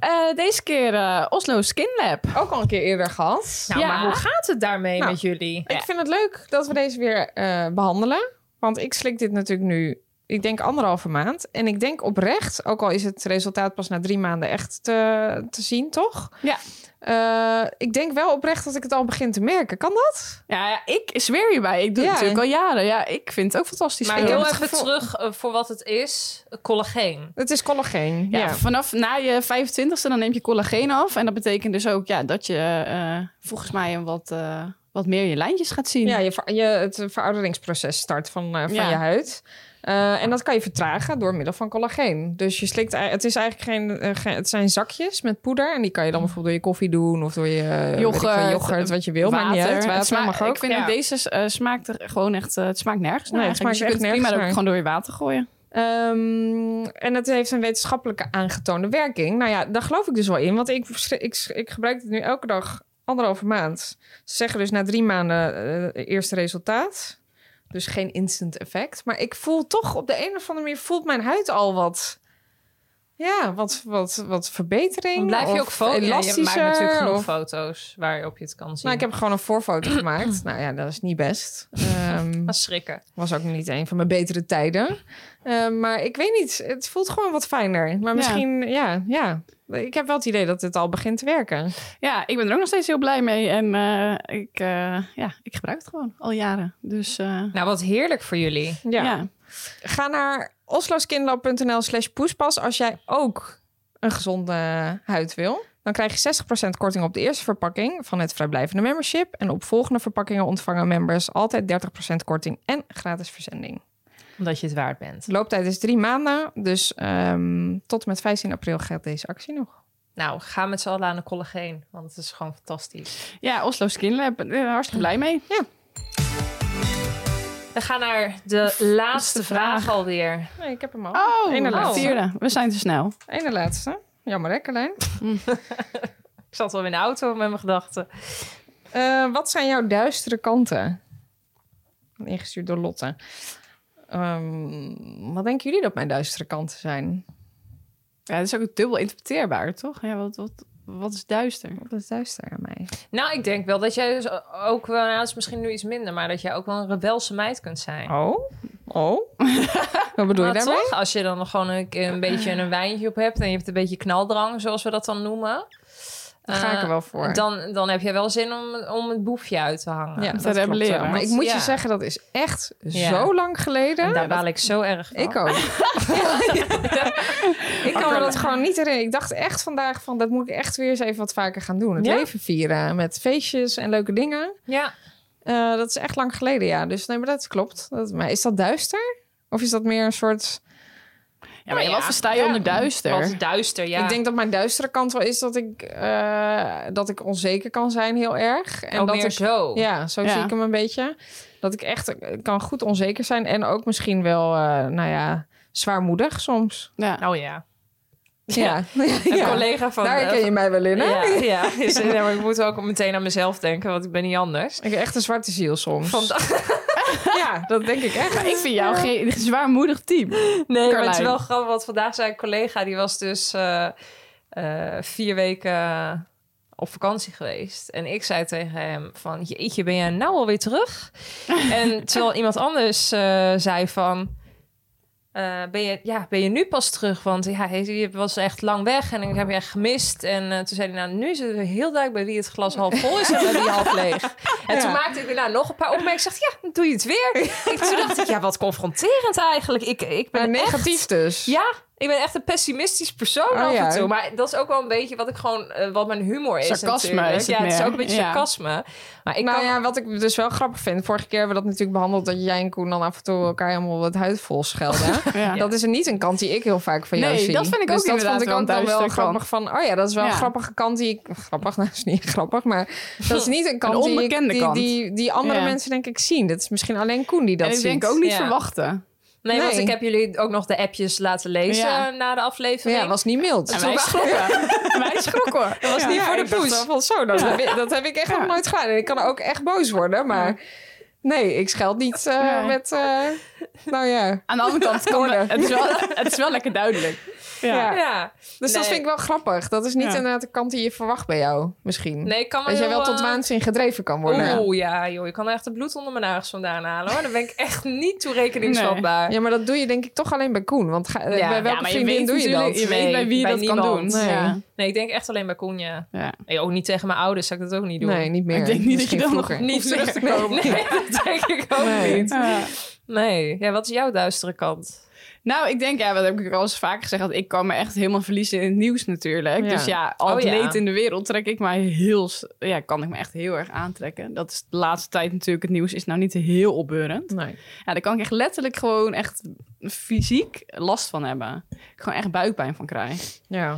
[SPEAKER 6] Eh, deze keer eh, Oslo Skin Lab.
[SPEAKER 5] Ook al een keer eerder gehad.
[SPEAKER 4] Nou,
[SPEAKER 6] Ja.
[SPEAKER 4] maar hoe gaat het daarmee
[SPEAKER 5] Nou,
[SPEAKER 4] met jullie?
[SPEAKER 5] Ik vind het leuk dat we deze weer eh, behandelen. Want ik slik dit natuurlijk nu, ik denk anderhalve maand. En ik denk oprecht, ook al is het resultaat pas na drie maanden echt te, te zien, toch?
[SPEAKER 6] Ja.
[SPEAKER 5] Eh, ik denk wel oprecht dat ik het al begin te merken. Kan dat?
[SPEAKER 6] Ja, ja, ik zweer hierbij. Ik doe
[SPEAKER 5] Ja.
[SPEAKER 6] het natuurlijk al jaren. Ja, ik vind het ook fantastisch.
[SPEAKER 4] Maar
[SPEAKER 6] veel.
[SPEAKER 4] heel
[SPEAKER 5] het
[SPEAKER 4] even
[SPEAKER 5] gevoel-
[SPEAKER 4] terug eh, voor wat het is. Collageen.
[SPEAKER 5] Het is collageen.
[SPEAKER 6] Ja,
[SPEAKER 5] Ja.
[SPEAKER 6] vanaf na je 25ste dan neem je collageen af. En dat betekent dus ook ja, dat je eh, volgens mij een wat, eh, wat meer je lijntjes gaat zien.
[SPEAKER 5] Ja, je, ver- je, het verouderingsproces start van, eh, van
[SPEAKER 6] Ja.
[SPEAKER 5] je huid. Eh, en dat kan je vertragen door middel van collageen. Dus je slikt, ei- het is eigenlijk geen, eh, geen- het zijn zakjes met poeder. En die kan je dan bijvoorbeeld door je koffie doen of door je eh, weet ik
[SPEAKER 6] Mm. Yoghurt,
[SPEAKER 5] veel, yoghurt wat je wil. maar niet uit. Water
[SPEAKER 6] Het smaakt-
[SPEAKER 5] mag ook.
[SPEAKER 6] Ik vind
[SPEAKER 5] Ja.
[SPEAKER 6] dat deze eh, smaakt er gewoon echt... eh, het smaakt nergens naar
[SPEAKER 5] Nee, het
[SPEAKER 6] eigenlijk. Dus je
[SPEAKER 5] smaakt echt
[SPEAKER 6] kunt prima
[SPEAKER 5] nergens
[SPEAKER 6] ook
[SPEAKER 5] naar.
[SPEAKER 6] gewoon door je water gooien.
[SPEAKER 5] Ehm, en het heeft een wetenschappelijke aangetoonde werking. Nou ja, daar geloof ik dus wel in. Want ik, vers- ik, s- ik gebruik het nu elke dag anderhalve maand. Ze zeggen dus na drie maanden eh, eerste resultaat. Dus geen instant effect. Maar ik voel toch op de een of andere manier... voelt mijn huid al wat... Ja, wat, wat, wat verbetering.
[SPEAKER 4] Dan blijf je ook
[SPEAKER 5] Of
[SPEAKER 4] foto's. Ja, je maakt natuurlijk
[SPEAKER 5] elastischer,
[SPEAKER 4] genoeg
[SPEAKER 5] of-
[SPEAKER 4] foto's waarop je het kan zien.
[SPEAKER 5] Nou, ik heb gewoon een voorfoto gemaakt. Nou ja, dat is niet best. Ehm,
[SPEAKER 4] Maar schrikken.
[SPEAKER 5] was ook niet een van mijn betere tijden. Eh, maar ik weet niet, het voelt gewoon wat fijner. Maar misschien, ja. ja, Ik heb wel het idee dat het al begint te werken.
[SPEAKER 6] Ja, ik ben er ook nog steeds heel blij mee. En eh, ik, eh, ja, ik gebruik het gewoon al jaren. Dus eh,
[SPEAKER 4] Nou, wat heerlijk voor jullie.
[SPEAKER 5] Ja.
[SPEAKER 6] ja.
[SPEAKER 5] Ga naar osloskinlab.nl slash poespas als jij ook een gezonde huid wil. Dan krijg je 60% korting op de eerste verpakking van het vrijblijvende membership. En op volgende verpakkingen ontvangen members altijd 30% korting en gratis verzending.
[SPEAKER 4] Omdat je het waard bent.
[SPEAKER 5] De looptijd is drie maanden, dus ehm, tot en met 15 april geldt deze actie nog.
[SPEAKER 4] Nou, ga met z'n allen aan de collageen. Want het is gewoon fantastisch.
[SPEAKER 6] Ja, Oslo Skin Lab. eh, hartstikke blij mee.
[SPEAKER 4] We gaan naar de laatste vraag alweer.
[SPEAKER 5] Nee, ik heb hem al.
[SPEAKER 6] Oh,
[SPEAKER 5] Ene
[SPEAKER 6] de
[SPEAKER 5] laatste.
[SPEAKER 6] vierde. We zijn te snel.
[SPEAKER 5] Ene laatste. Jammer hè, Carlijn?
[SPEAKER 4] Ik zat al in de auto met mijn gedachten.
[SPEAKER 5] Eh, wat zijn jouw duistere kanten? Ingestuurd door Lotte. Ehm, wat denken jullie dat mijn duistere kanten zijn?
[SPEAKER 6] Ja, dat is ook dubbel interpreteerbaar, toch? Ja, wat, wat, wat is duister?
[SPEAKER 5] Wat is duister aan mij?
[SPEAKER 4] Nou, ik denk wel dat jij dus ook wel... Nou, dat is misschien nu iets minder. Maar dat jij ook wel een rebelse meid kunt zijn.
[SPEAKER 5] Oh? Oh? wat bedoel je
[SPEAKER 4] Maar
[SPEAKER 5] daarmee?
[SPEAKER 4] toch, als je dan nog gewoon een, een beetje een wijntje op hebt... en je hebt een beetje knaldrang, zoals we dat dan noemen... eh,
[SPEAKER 5] Daar ga ik er wel voor.
[SPEAKER 4] Dan, dan heb je wel zin om, om het boefje uit te hangen.
[SPEAKER 5] ja,
[SPEAKER 6] te
[SPEAKER 5] dat klopt
[SPEAKER 6] rebelleren.
[SPEAKER 5] wel. Maar ik moet
[SPEAKER 4] Ja.
[SPEAKER 5] je zeggen, dat is echt
[SPEAKER 4] Ja.
[SPEAKER 5] zo lang geleden.
[SPEAKER 4] En daar baal ik zo erg van.
[SPEAKER 5] Ik ook. Ik kan me dat gewoon niet herinneren. Ik dacht echt vandaag van dat moet ik echt weer eens even wat vaker gaan doen. Het
[SPEAKER 4] Ja?
[SPEAKER 5] leven vieren met feestjes en leuke dingen.
[SPEAKER 4] Ja,
[SPEAKER 5] Eh, dat is echt lang geleden, ja. Dus nee, maar dat klopt. Dat, maar is dat duister? Of is dat meer een soort...
[SPEAKER 6] Ja, maar
[SPEAKER 4] ja.
[SPEAKER 6] wat versta je
[SPEAKER 4] Ja.
[SPEAKER 6] onder duister?
[SPEAKER 4] wat duister, ja.
[SPEAKER 5] Ik denk dat mijn duistere kant wel is dat ik, eh, dat ik onzeker kan zijn heel erg. En
[SPEAKER 4] en
[SPEAKER 5] dat
[SPEAKER 4] Oh, meer
[SPEAKER 5] ik,
[SPEAKER 4] zo.
[SPEAKER 5] Ja, zo
[SPEAKER 6] Ja.
[SPEAKER 5] zie ik hem een beetje. Dat ik echt ik kan goed onzeker zijn. En ook misschien wel, eh, nou ja, zwaarmoedig soms.
[SPEAKER 6] Ja.
[SPEAKER 4] Nou ja.
[SPEAKER 5] Ja,
[SPEAKER 4] Een
[SPEAKER 5] Ja.
[SPEAKER 4] collega van... eh,
[SPEAKER 5] daar ken je mij wel in, hè?
[SPEAKER 4] ja, ja. Dus, eh, maar ik moet ook meteen aan mezelf denken, want ik ben niet anders.
[SPEAKER 5] Ik heb echt een zwarte ziel soms.
[SPEAKER 4] Van,
[SPEAKER 5] Ja, dat denk ik echt.
[SPEAKER 6] Maar ik vind jou geen zwaarmoedig type.
[SPEAKER 4] nee, maar het is
[SPEAKER 6] Carlijn.
[SPEAKER 4] wel grappig, want vandaag zei een collega, die was dus eh, eh, vier weken eh, op vakantie geweest. En ik zei tegen hem van, jeetje, ben jij nou alweer terug? en terwijl iemand anders eh, zei van... eh, ben, je, ja, ben je nu pas terug? Want ja, hij- je was echt lang weg en ik heb je echt gemist. En eh, toen zei hij, nou, nu is het weer heel duidelijk bij wie het glas half vol is en bij wie half leeg. En
[SPEAKER 5] Ja.
[SPEAKER 4] toen maakte ik weer nou, nog een paar opmerkingen. Ik zeg, ja, dan doe je het weer. ik, toen dacht ik, ja, wat confronterend eigenlijk. Ik, ik ben
[SPEAKER 5] Maar negatief
[SPEAKER 4] echt-
[SPEAKER 5] dus.
[SPEAKER 4] Ja, ik Ik ben echt een pessimistisch persoon
[SPEAKER 5] Oh,
[SPEAKER 4] af
[SPEAKER 5] ja.
[SPEAKER 4] en toe. Maar dat is ook wel een beetje wat ik gewoon, eh, wat mijn humor is.
[SPEAKER 6] Sarcasme
[SPEAKER 4] natuurlijk.
[SPEAKER 6] is het
[SPEAKER 4] ja, het is
[SPEAKER 6] meer.
[SPEAKER 4] ook een beetje
[SPEAKER 6] Ja.
[SPEAKER 4] sarcasme. Maar ik
[SPEAKER 5] nou
[SPEAKER 4] kan,
[SPEAKER 5] ja, wat ik dus wel grappig vind. Vorige keer hebben we dat natuurlijk behandeld. Dat jij en Koen dan af en toe elkaar helemaal het huid vol schelden.
[SPEAKER 6] Ja.
[SPEAKER 5] Dat is niet een kant die ik heel vaak van jou
[SPEAKER 6] Nee,
[SPEAKER 5] zie.
[SPEAKER 6] dat vind ik ook
[SPEAKER 5] dus dat
[SPEAKER 6] inderdaad
[SPEAKER 5] vond ik
[SPEAKER 6] wel
[SPEAKER 5] ook
[SPEAKER 6] een
[SPEAKER 5] dan wel
[SPEAKER 6] duistere
[SPEAKER 5] grappig van. Oh ja, dat is wel
[SPEAKER 6] Ja.
[SPEAKER 5] een grappige kant die ik. Grappig, nou is niet grappig, maar dat is niet een kant die, ik-
[SPEAKER 6] onbekende
[SPEAKER 5] die,
[SPEAKER 6] kant.
[SPEAKER 5] Die, die andere
[SPEAKER 6] Ja.
[SPEAKER 5] mensen denk ik zien. Dat is misschien alleen Koen die dat
[SPEAKER 6] en ik
[SPEAKER 5] ziet.
[SPEAKER 6] denk ook niet
[SPEAKER 4] Ja.
[SPEAKER 6] verwachten.
[SPEAKER 4] nee, want
[SPEAKER 5] nee.
[SPEAKER 4] ik heb jullie ook nog de appjes laten lezen
[SPEAKER 6] Ja.
[SPEAKER 4] na de aflevering.
[SPEAKER 5] Ja, was niet mild.
[SPEAKER 6] En wij schrokken. wij schrokken.
[SPEAKER 5] Dat was niet voor de poes. Van, zo, dat, heb ik- dat heb ik echt
[SPEAKER 6] Ja.
[SPEAKER 5] nog nooit gedaan. En ik kan ook echt boos worden, maar nee, ik scheld niet eh,
[SPEAKER 6] Nee.
[SPEAKER 5] met. eh, nou ja.
[SPEAKER 6] Aan de andere kant, kan we- het, is wel, het is wel lekker duidelijk.
[SPEAKER 5] Ja.
[SPEAKER 4] Ja.
[SPEAKER 5] Dus dat
[SPEAKER 4] Nee.
[SPEAKER 5] vind ik wel grappig. Dat is niet
[SPEAKER 6] Ja.
[SPEAKER 5] inderdaad de kant die je verwacht bij jou, misschien.
[SPEAKER 4] Nee, ik kan me
[SPEAKER 5] dat jij
[SPEAKER 4] heel,
[SPEAKER 5] wel tot
[SPEAKER 4] eh,
[SPEAKER 5] waanzin gedreven kan worden.
[SPEAKER 4] Oeh, ja, joh. Je kan echt het bloed onder mijn nagels vandaan halen, hoor. Dan ben ik echt niet toerekeningsvatbaar.
[SPEAKER 5] Ja, maar dat doe je denk ik toch alleen bij Koen. Want ga- eh,
[SPEAKER 4] Ja.
[SPEAKER 5] bij welke
[SPEAKER 6] maar je
[SPEAKER 5] vriendin
[SPEAKER 6] weet
[SPEAKER 5] doe je dat?
[SPEAKER 6] natuurlijk- je weet bij wie je dat kan doen.
[SPEAKER 5] Nee.
[SPEAKER 6] Ja.
[SPEAKER 4] Nee, ik denk echt alleen bij Koenja.
[SPEAKER 6] Ja.
[SPEAKER 4] Nee, ook niet tegen mijn ouders zou ik dat ook niet doen.
[SPEAKER 5] Nee, niet meer.
[SPEAKER 6] Ik denk niet
[SPEAKER 5] Misschien
[SPEAKER 6] dat je dan
[SPEAKER 5] vroeger.
[SPEAKER 6] nog niet terug te
[SPEAKER 5] Nee.
[SPEAKER 6] komen.
[SPEAKER 4] Nee, dat denk ik ook
[SPEAKER 5] Nee.
[SPEAKER 4] niet. Nee. Ja, wat is jouw duistere kant?
[SPEAKER 6] Nou, ik denk, ja, wat heb ik al eens vaker gezegd, dat ik kan me echt helemaal verliezen in het nieuws natuurlijk.
[SPEAKER 5] Ja.
[SPEAKER 6] Dus ja, al het
[SPEAKER 4] Oh, ja.
[SPEAKER 6] leed in de wereld trek ik mij heel, s- ja, kan ik me echt heel erg aantrekken. Dat is de laatste tijd natuurlijk, het nieuws is nou niet heel opbeurend.
[SPEAKER 5] Nee.
[SPEAKER 6] Ja, daar kan ik echt letterlijk gewoon echt fysiek last van hebben. Ik gewoon echt buikpijn van krijg.
[SPEAKER 5] Ja.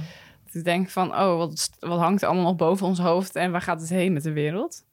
[SPEAKER 6] Dat ik denk van, oh, wat, is- wat hangt er allemaal nog boven ons hoofd en waar gaat het heen met de wereld?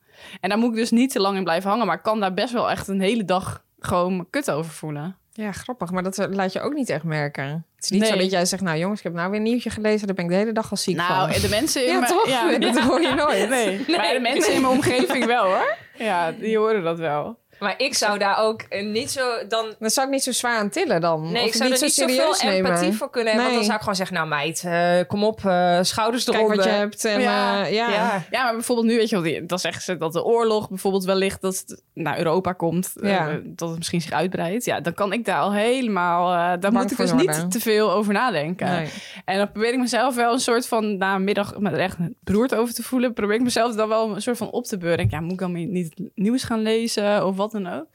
[SPEAKER 6] En daar moet ik dus niet te lang in blijven hangen, maar ik kan daar best wel echt een hele dag gewoon me kut over voelen.
[SPEAKER 5] ja, grappig. Maar dat laat je ook niet echt merken. Het is niet
[SPEAKER 6] Nee.
[SPEAKER 5] zo dat jij zegt, nou jongens, ik heb nou weer een nieuwtje gelezen. Daar ben ik de hele dag al ziek
[SPEAKER 6] Nou,
[SPEAKER 5] van.
[SPEAKER 6] en de mensen in
[SPEAKER 5] Ja,
[SPEAKER 6] mijn-
[SPEAKER 5] toch?
[SPEAKER 6] Ja,
[SPEAKER 5] Dat hoor je nooit.
[SPEAKER 6] oh, Nee. Maar de mensen in mijn omgeving wel hoor. Ja, die horen dat wel.
[SPEAKER 4] Maar ik zou daar ook eh, niet zo... Dan,
[SPEAKER 5] Dan zou ik niet zo zwaar aan tillen dan.
[SPEAKER 4] nee,
[SPEAKER 5] Of
[SPEAKER 4] ik zou er
[SPEAKER 5] zo
[SPEAKER 4] niet
[SPEAKER 5] serieus
[SPEAKER 4] zoveel
[SPEAKER 5] nemen.
[SPEAKER 4] empathie voor kunnen hebben. Want dan zou
[SPEAKER 5] Nee.
[SPEAKER 4] ik gewoon zeggen, nou meid, eh, kom op, eh, schouders
[SPEAKER 5] Kijk
[SPEAKER 4] eronder.
[SPEAKER 5] wat je hebt. En,
[SPEAKER 6] eh, Ja.
[SPEAKER 5] ja. ja.
[SPEAKER 4] Ja.
[SPEAKER 6] Ja, maar bijvoorbeeld nu, weet je wel, die- dan zeggen ze dat de oorlog bijvoorbeeld wellicht dat het naar Europa komt.
[SPEAKER 5] Ja.
[SPEAKER 6] eh, dat het misschien zich uitbreidt. Ja, dan kan ik daar al helemaal, eh, daar
[SPEAKER 5] Bang
[SPEAKER 6] moet ik
[SPEAKER 5] voor
[SPEAKER 6] dus
[SPEAKER 5] worden.
[SPEAKER 6] niet te veel over nadenken.
[SPEAKER 5] Nee.
[SPEAKER 6] En dan probeer ik mezelf wel een soort van, na een middag me er echt beroerd over te voelen, probeer ik mezelf dan wel een soort van op te beuren. Ik denk, Ja, moet ik dan niet- niet het nieuws gaan lezen of wat dan ook?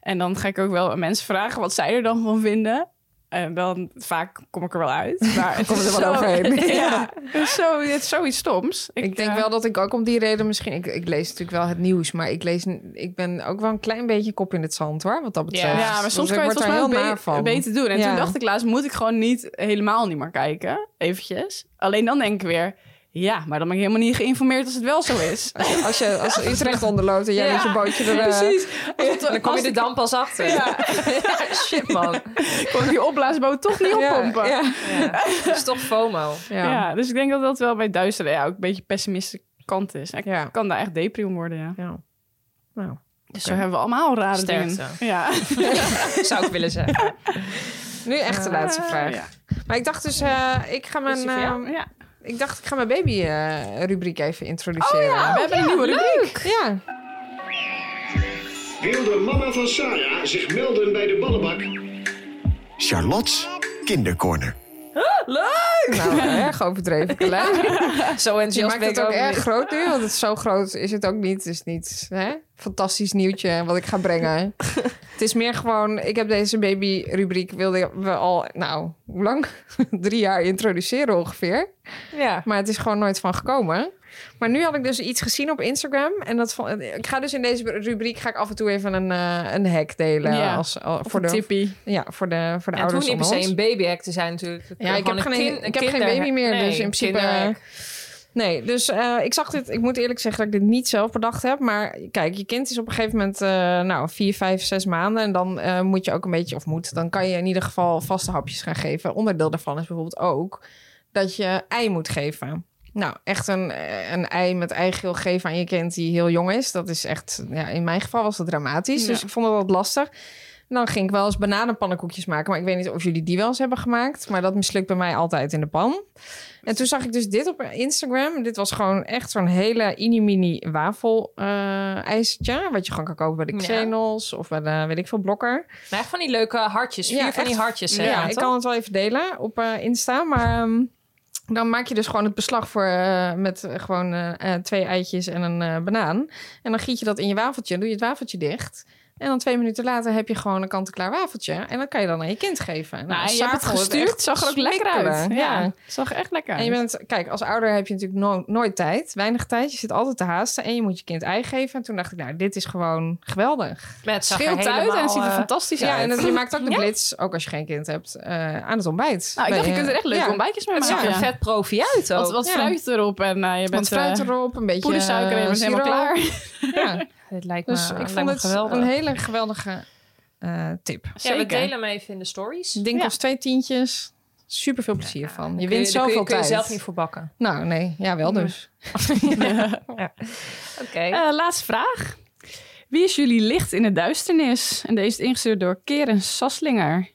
[SPEAKER 6] En dan ga ik ook wel aan mensen vragen wat zij er dan van vinden. En dan vaak kom ik er wel uit. Maar het
[SPEAKER 5] Kom
[SPEAKER 6] is
[SPEAKER 5] er wel
[SPEAKER 6] zo-
[SPEAKER 5] overheen.
[SPEAKER 6] Ja, het is zo, het is zoiets stoms.
[SPEAKER 5] Ik denk
[SPEAKER 6] eh,
[SPEAKER 5] wel dat ik ook om die reden misschien... Ik, ik lees natuurlijk wel het nieuws, maar ik, lees, ik ben ook wel een klein beetje kop in het zand, hoor. Wat dat betreft.
[SPEAKER 6] Ja, maar soms
[SPEAKER 5] Want ik
[SPEAKER 6] kan je het
[SPEAKER 5] word
[SPEAKER 6] volgens
[SPEAKER 5] daar
[SPEAKER 6] mij ook
[SPEAKER 5] heel
[SPEAKER 6] be-
[SPEAKER 5] naar van.
[SPEAKER 6] beter doen. En
[SPEAKER 5] Ja.
[SPEAKER 6] toen dacht ik laatst, moet ik gewoon niet helemaal niet meer kijken. Eventjes. Alleen dan denk ik weer, ja, maar dan ben ik helemaal niet geïnformeerd als het wel zo is.
[SPEAKER 5] Als, je, als er iets recht onder loopt en jij
[SPEAKER 4] Ja,
[SPEAKER 5] met je bootje er... eh,
[SPEAKER 6] Precies.
[SPEAKER 4] En dan kom je er dan pas achter.
[SPEAKER 6] Ja,
[SPEAKER 4] Shit, man.
[SPEAKER 6] ik kon die opblaasboot toch niet
[SPEAKER 5] ja,
[SPEAKER 6] oppompen. Ja,
[SPEAKER 5] Ja,
[SPEAKER 4] Ja. Dat is toch FOMO.
[SPEAKER 5] ja.
[SPEAKER 6] dus ik denk dat dat wel bij duisteren ja, ook een beetje pessimistische kant is. Ik
[SPEAKER 5] Ja.
[SPEAKER 6] kan daar echt depri om worden, ja.
[SPEAKER 5] Ja. Nou,
[SPEAKER 6] Dus zo hebben we allemaal rare
[SPEAKER 4] Sterkte.
[SPEAKER 6] dingen. Ja.
[SPEAKER 4] Zou ik willen zeggen. Ah,
[SPEAKER 5] nu echt de
[SPEAKER 6] Eh.
[SPEAKER 5] laatste vraag.
[SPEAKER 6] Ja.
[SPEAKER 5] Maar ik dacht dus, eh, ik ga mijn, eh,
[SPEAKER 6] ja.
[SPEAKER 5] ik dacht, ik ga mijn baby eh, rubriek even introduceren.
[SPEAKER 6] We hebben een nieuwe rubriek.
[SPEAKER 5] ja.
[SPEAKER 8] Wilde mama van Sarah zich melden bij de ballenbak?
[SPEAKER 3] Charlotte's Kindercorner.
[SPEAKER 5] Nou, erg overdreven, Carlijn.
[SPEAKER 4] Zo
[SPEAKER 5] Je
[SPEAKER 4] enthousiast
[SPEAKER 5] maakt
[SPEAKER 4] ben ik
[SPEAKER 5] het ook
[SPEAKER 4] ook
[SPEAKER 5] erg
[SPEAKER 4] niet.
[SPEAKER 5] groot nu, want het zo groot is het ook niet. Het is niet hè? fantastisch nieuwtje wat ik ga brengen. het is meer gewoon, ik heb deze baby-rubriek wilde we al, nou, hoe lang? Drie jaar introduceren ongeveer.
[SPEAKER 4] Ja.
[SPEAKER 5] Maar het is gewoon nooit van gekomen. Maar nu had ik dus iets gezien op Instagram. En dat vond, ik ga dus in deze rubriek ga ik af en toe even een, eh, een hack delen.
[SPEAKER 6] Ja,
[SPEAKER 5] Als, al-
[SPEAKER 6] Of
[SPEAKER 5] voor,
[SPEAKER 6] een
[SPEAKER 5] de,
[SPEAKER 6] tippie.
[SPEAKER 5] ja, voor de, voor de
[SPEAKER 4] Ja, het
[SPEAKER 5] ouders
[SPEAKER 4] hoeft niet per
[SPEAKER 5] onder
[SPEAKER 4] se
[SPEAKER 5] ons.
[SPEAKER 4] een babyhack te zijn natuurlijk. Het
[SPEAKER 5] Ja, ik
[SPEAKER 4] kan
[SPEAKER 5] heb,
[SPEAKER 4] gewoon
[SPEAKER 5] geen,
[SPEAKER 4] een kin-
[SPEAKER 5] ik heb geen
[SPEAKER 4] kinder-
[SPEAKER 5] baby meer,
[SPEAKER 4] Nee,
[SPEAKER 5] dus in principe...
[SPEAKER 4] kinderhack.
[SPEAKER 5] nee, dus eh, ik zag dit... Ik moet eerlijk zeggen dat ik dit niet zelf bedacht heb. Maar kijk, je kind is op een gegeven moment... eh, nou, vier, vijf, zes maanden. En dan eh, moet je ook een beetje... Of moet, dan kan je in ieder geval vaste hapjes gaan geven. Onderdeel daarvan is bijvoorbeeld ook... dat je ei moet geven. Nou, echt een, eh, een ei met eigeel geven aan je kind die heel jong is. Dat is echt... Ja, in mijn geval was dat dramatisch.
[SPEAKER 6] Ja.
[SPEAKER 5] Dus ik vond dat wat lastig. En Dan ging ik wel eens bananenpannenkoekjes maken. Maar ik weet niet of jullie die wel eens hebben gemaakt. Maar dat mislukt bij mij altijd in de pan. En toen zag ik dus dit op Instagram. Dit was gewoon echt zo'n hele mini-mini wafel eh, ijsje. Wat je gewoon kan kopen bij de
[SPEAKER 4] Ja.
[SPEAKER 5] Xenos of bij de, weet ik veel, Blokker.
[SPEAKER 4] Maar echt van die leuke hartjes. Vier
[SPEAKER 5] Ja,
[SPEAKER 4] van die
[SPEAKER 5] echt.
[SPEAKER 4] hartjes.
[SPEAKER 5] Ja,
[SPEAKER 4] hè,
[SPEAKER 5] ik
[SPEAKER 4] toch?
[SPEAKER 5] kan het wel even delen op eh, Insta. Maar ehm, dan maak je dus gewoon het beslag voor eh, met eh, gewoon eh, eh, twee eitjes en een eh, banaan. En dan giet je dat in je wafeltje. en doe je het wafeltje dicht. En dan twee minuten later heb je gewoon een kant-en-klaar wafeltje. En dat kan je dan aan je kind geven. En
[SPEAKER 6] Nou,
[SPEAKER 5] als
[SPEAKER 6] en je hebt het
[SPEAKER 5] s'avonds
[SPEAKER 6] gestuurd,
[SPEAKER 5] echt
[SPEAKER 6] zag er ook lekker uit.
[SPEAKER 5] smikkelen.
[SPEAKER 6] Ja, zag er echt lekker
[SPEAKER 5] En
[SPEAKER 6] uit.
[SPEAKER 5] je bent, kijk, als ouder heb je natuurlijk no- nooit tijd, weinig tijd. Je zit altijd te haasten en je moet je kind ei geven. En toen dacht ik, nou, dit is gewoon geweldig.
[SPEAKER 4] Met
[SPEAKER 6] scheelt uit en het ziet er
[SPEAKER 4] eh,
[SPEAKER 6] fantastisch
[SPEAKER 5] eh, Ja,
[SPEAKER 6] uit.
[SPEAKER 5] en dat, je maakt ook de
[SPEAKER 6] Ja.
[SPEAKER 5] blitz, ook als je geen kind hebt, eh, aan het ontbijt.
[SPEAKER 6] Nou, ik dacht, je
[SPEAKER 5] Nee,
[SPEAKER 6] kunt er echt leuke
[SPEAKER 5] ja.
[SPEAKER 6] ontbijtjes mee
[SPEAKER 4] Het zag
[SPEAKER 6] maken.
[SPEAKER 4] er
[SPEAKER 6] Ja.
[SPEAKER 4] vet profi uit
[SPEAKER 6] Wat,
[SPEAKER 4] ook.
[SPEAKER 6] wat
[SPEAKER 5] Ja.
[SPEAKER 6] fruit erop en eh je
[SPEAKER 5] Wat
[SPEAKER 6] bent
[SPEAKER 5] fruit
[SPEAKER 6] eh,
[SPEAKER 5] erop, een beetje
[SPEAKER 6] poedersuiker en je
[SPEAKER 5] eh,
[SPEAKER 6] bent helemaal
[SPEAKER 5] siroop.
[SPEAKER 6] klaar.
[SPEAKER 5] Ja,
[SPEAKER 4] Dit lijkt me,
[SPEAKER 5] dus ik
[SPEAKER 4] Nou, lijkt
[SPEAKER 5] vond
[SPEAKER 4] me
[SPEAKER 5] het
[SPEAKER 4] geweldig.
[SPEAKER 5] een hele geweldige eh, tip.
[SPEAKER 4] ja, we
[SPEAKER 6] Zeker.
[SPEAKER 4] delen hem even in de stories.
[SPEAKER 5] Ik denk
[SPEAKER 6] Ja.
[SPEAKER 5] als twee tientjes, super veel plezier van. Je
[SPEAKER 4] Kun
[SPEAKER 5] wint
[SPEAKER 4] daar
[SPEAKER 5] zoveel
[SPEAKER 4] kun je, kun je
[SPEAKER 5] tijd.
[SPEAKER 4] zelf niet voor bakken.
[SPEAKER 5] Nou, nee, ja, wel dus.
[SPEAKER 4] Oké.
[SPEAKER 6] Eh, laatste vraag. Wie is jullie licht in de duisternis? En deze is ingestuurd door Keren Sasslinger.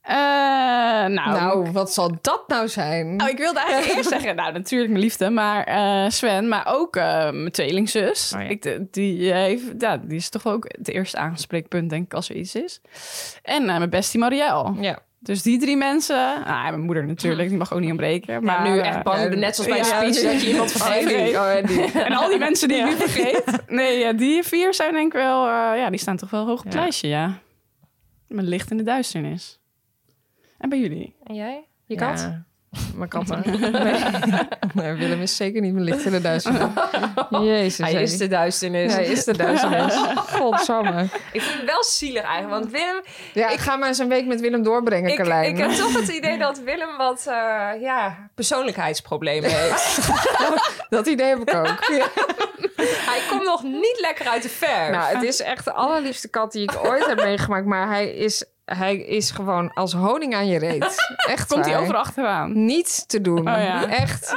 [SPEAKER 6] Eh, nou,
[SPEAKER 5] Nou, wat zal dat nou zijn?
[SPEAKER 6] oh, ik wilde eigenlijk eerst zeggen, nou natuurlijk mijn liefde, maar eh, Sven, maar ook eh, mijn tweelingzus.
[SPEAKER 4] Oh,
[SPEAKER 6] ik, eh, die, heeft, ja, die is toch ook het eerste aanspreekpunt, denk ik, als er iets is. En eh, mijn bestie Marielle.
[SPEAKER 5] Ja.
[SPEAKER 6] Dus die drie mensen, nou, en mijn moeder natuurlijk, die mag ook niet ontbreken. Maar
[SPEAKER 4] nu
[SPEAKER 6] eh,
[SPEAKER 4] echt bang,
[SPEAKER 5] ja,
[SPEAKER 4] net zoals bij
[SPEAKER 6] ja,
[SPEAKER 4] de speech, dat je iemand vergeet.
[SPEAKER 5] oh,
[SPEAKER 6] En al die mensen die ik nu vergeet. Nee, ja, die vier zijn denk ik wel... eh, ja, die staan toch wel hoog op het lijstje, ja. Mijn licht in de duisternis. En bij jullie?
[SPEAKER 4] En jij? Je
[SPEAKER 5] Ja,
[SPEAKER 4] kat?
[SPEAKER 5] Mijn kat. hè? Nee. Nee, Willem is zeker niet mijn licht in de duisternis. Jezus.
[SPEAKER 4] Hij
[SPEAKER 5] hé.
[SPEAKER 4] is de duisternis.
[SPEAKER 5] Hij is de duisternis. Godsamme.
[SPEAKER 4] Ik vind het wel zielig eigenlijk, want Willem...
[SPEAKER 5] Ja, ik ga maar eens een week met Willem doorbrengen,
[SPEAKER 4] Ik,
[SPEAKER 5] Carlijn.
[SPEAKER 4] ik heb toch het idee dat Willem wat eh, ja, persoonlijkheidsproblemen heeft.
[SPEAKER 5] Dat idee heb ik ook.
[SPEAKER 4] Hij komt nog niet lekker uit de verf.
[SPEAKER 5] Nou, het is echt de allerliefste kat die ik ooit heb meegemaakt. Maar hij is, hij is gewoon als honing aan je reet. Echt
[SPEAKER 6] Komt
[SPEAKER 5] waar.
[SPEAKER 6] die overal achteraan?
[SPEAKER 5] niets te doen.
[SPEAKER 6] Oh ja.
[SPEAKER 5] Echt.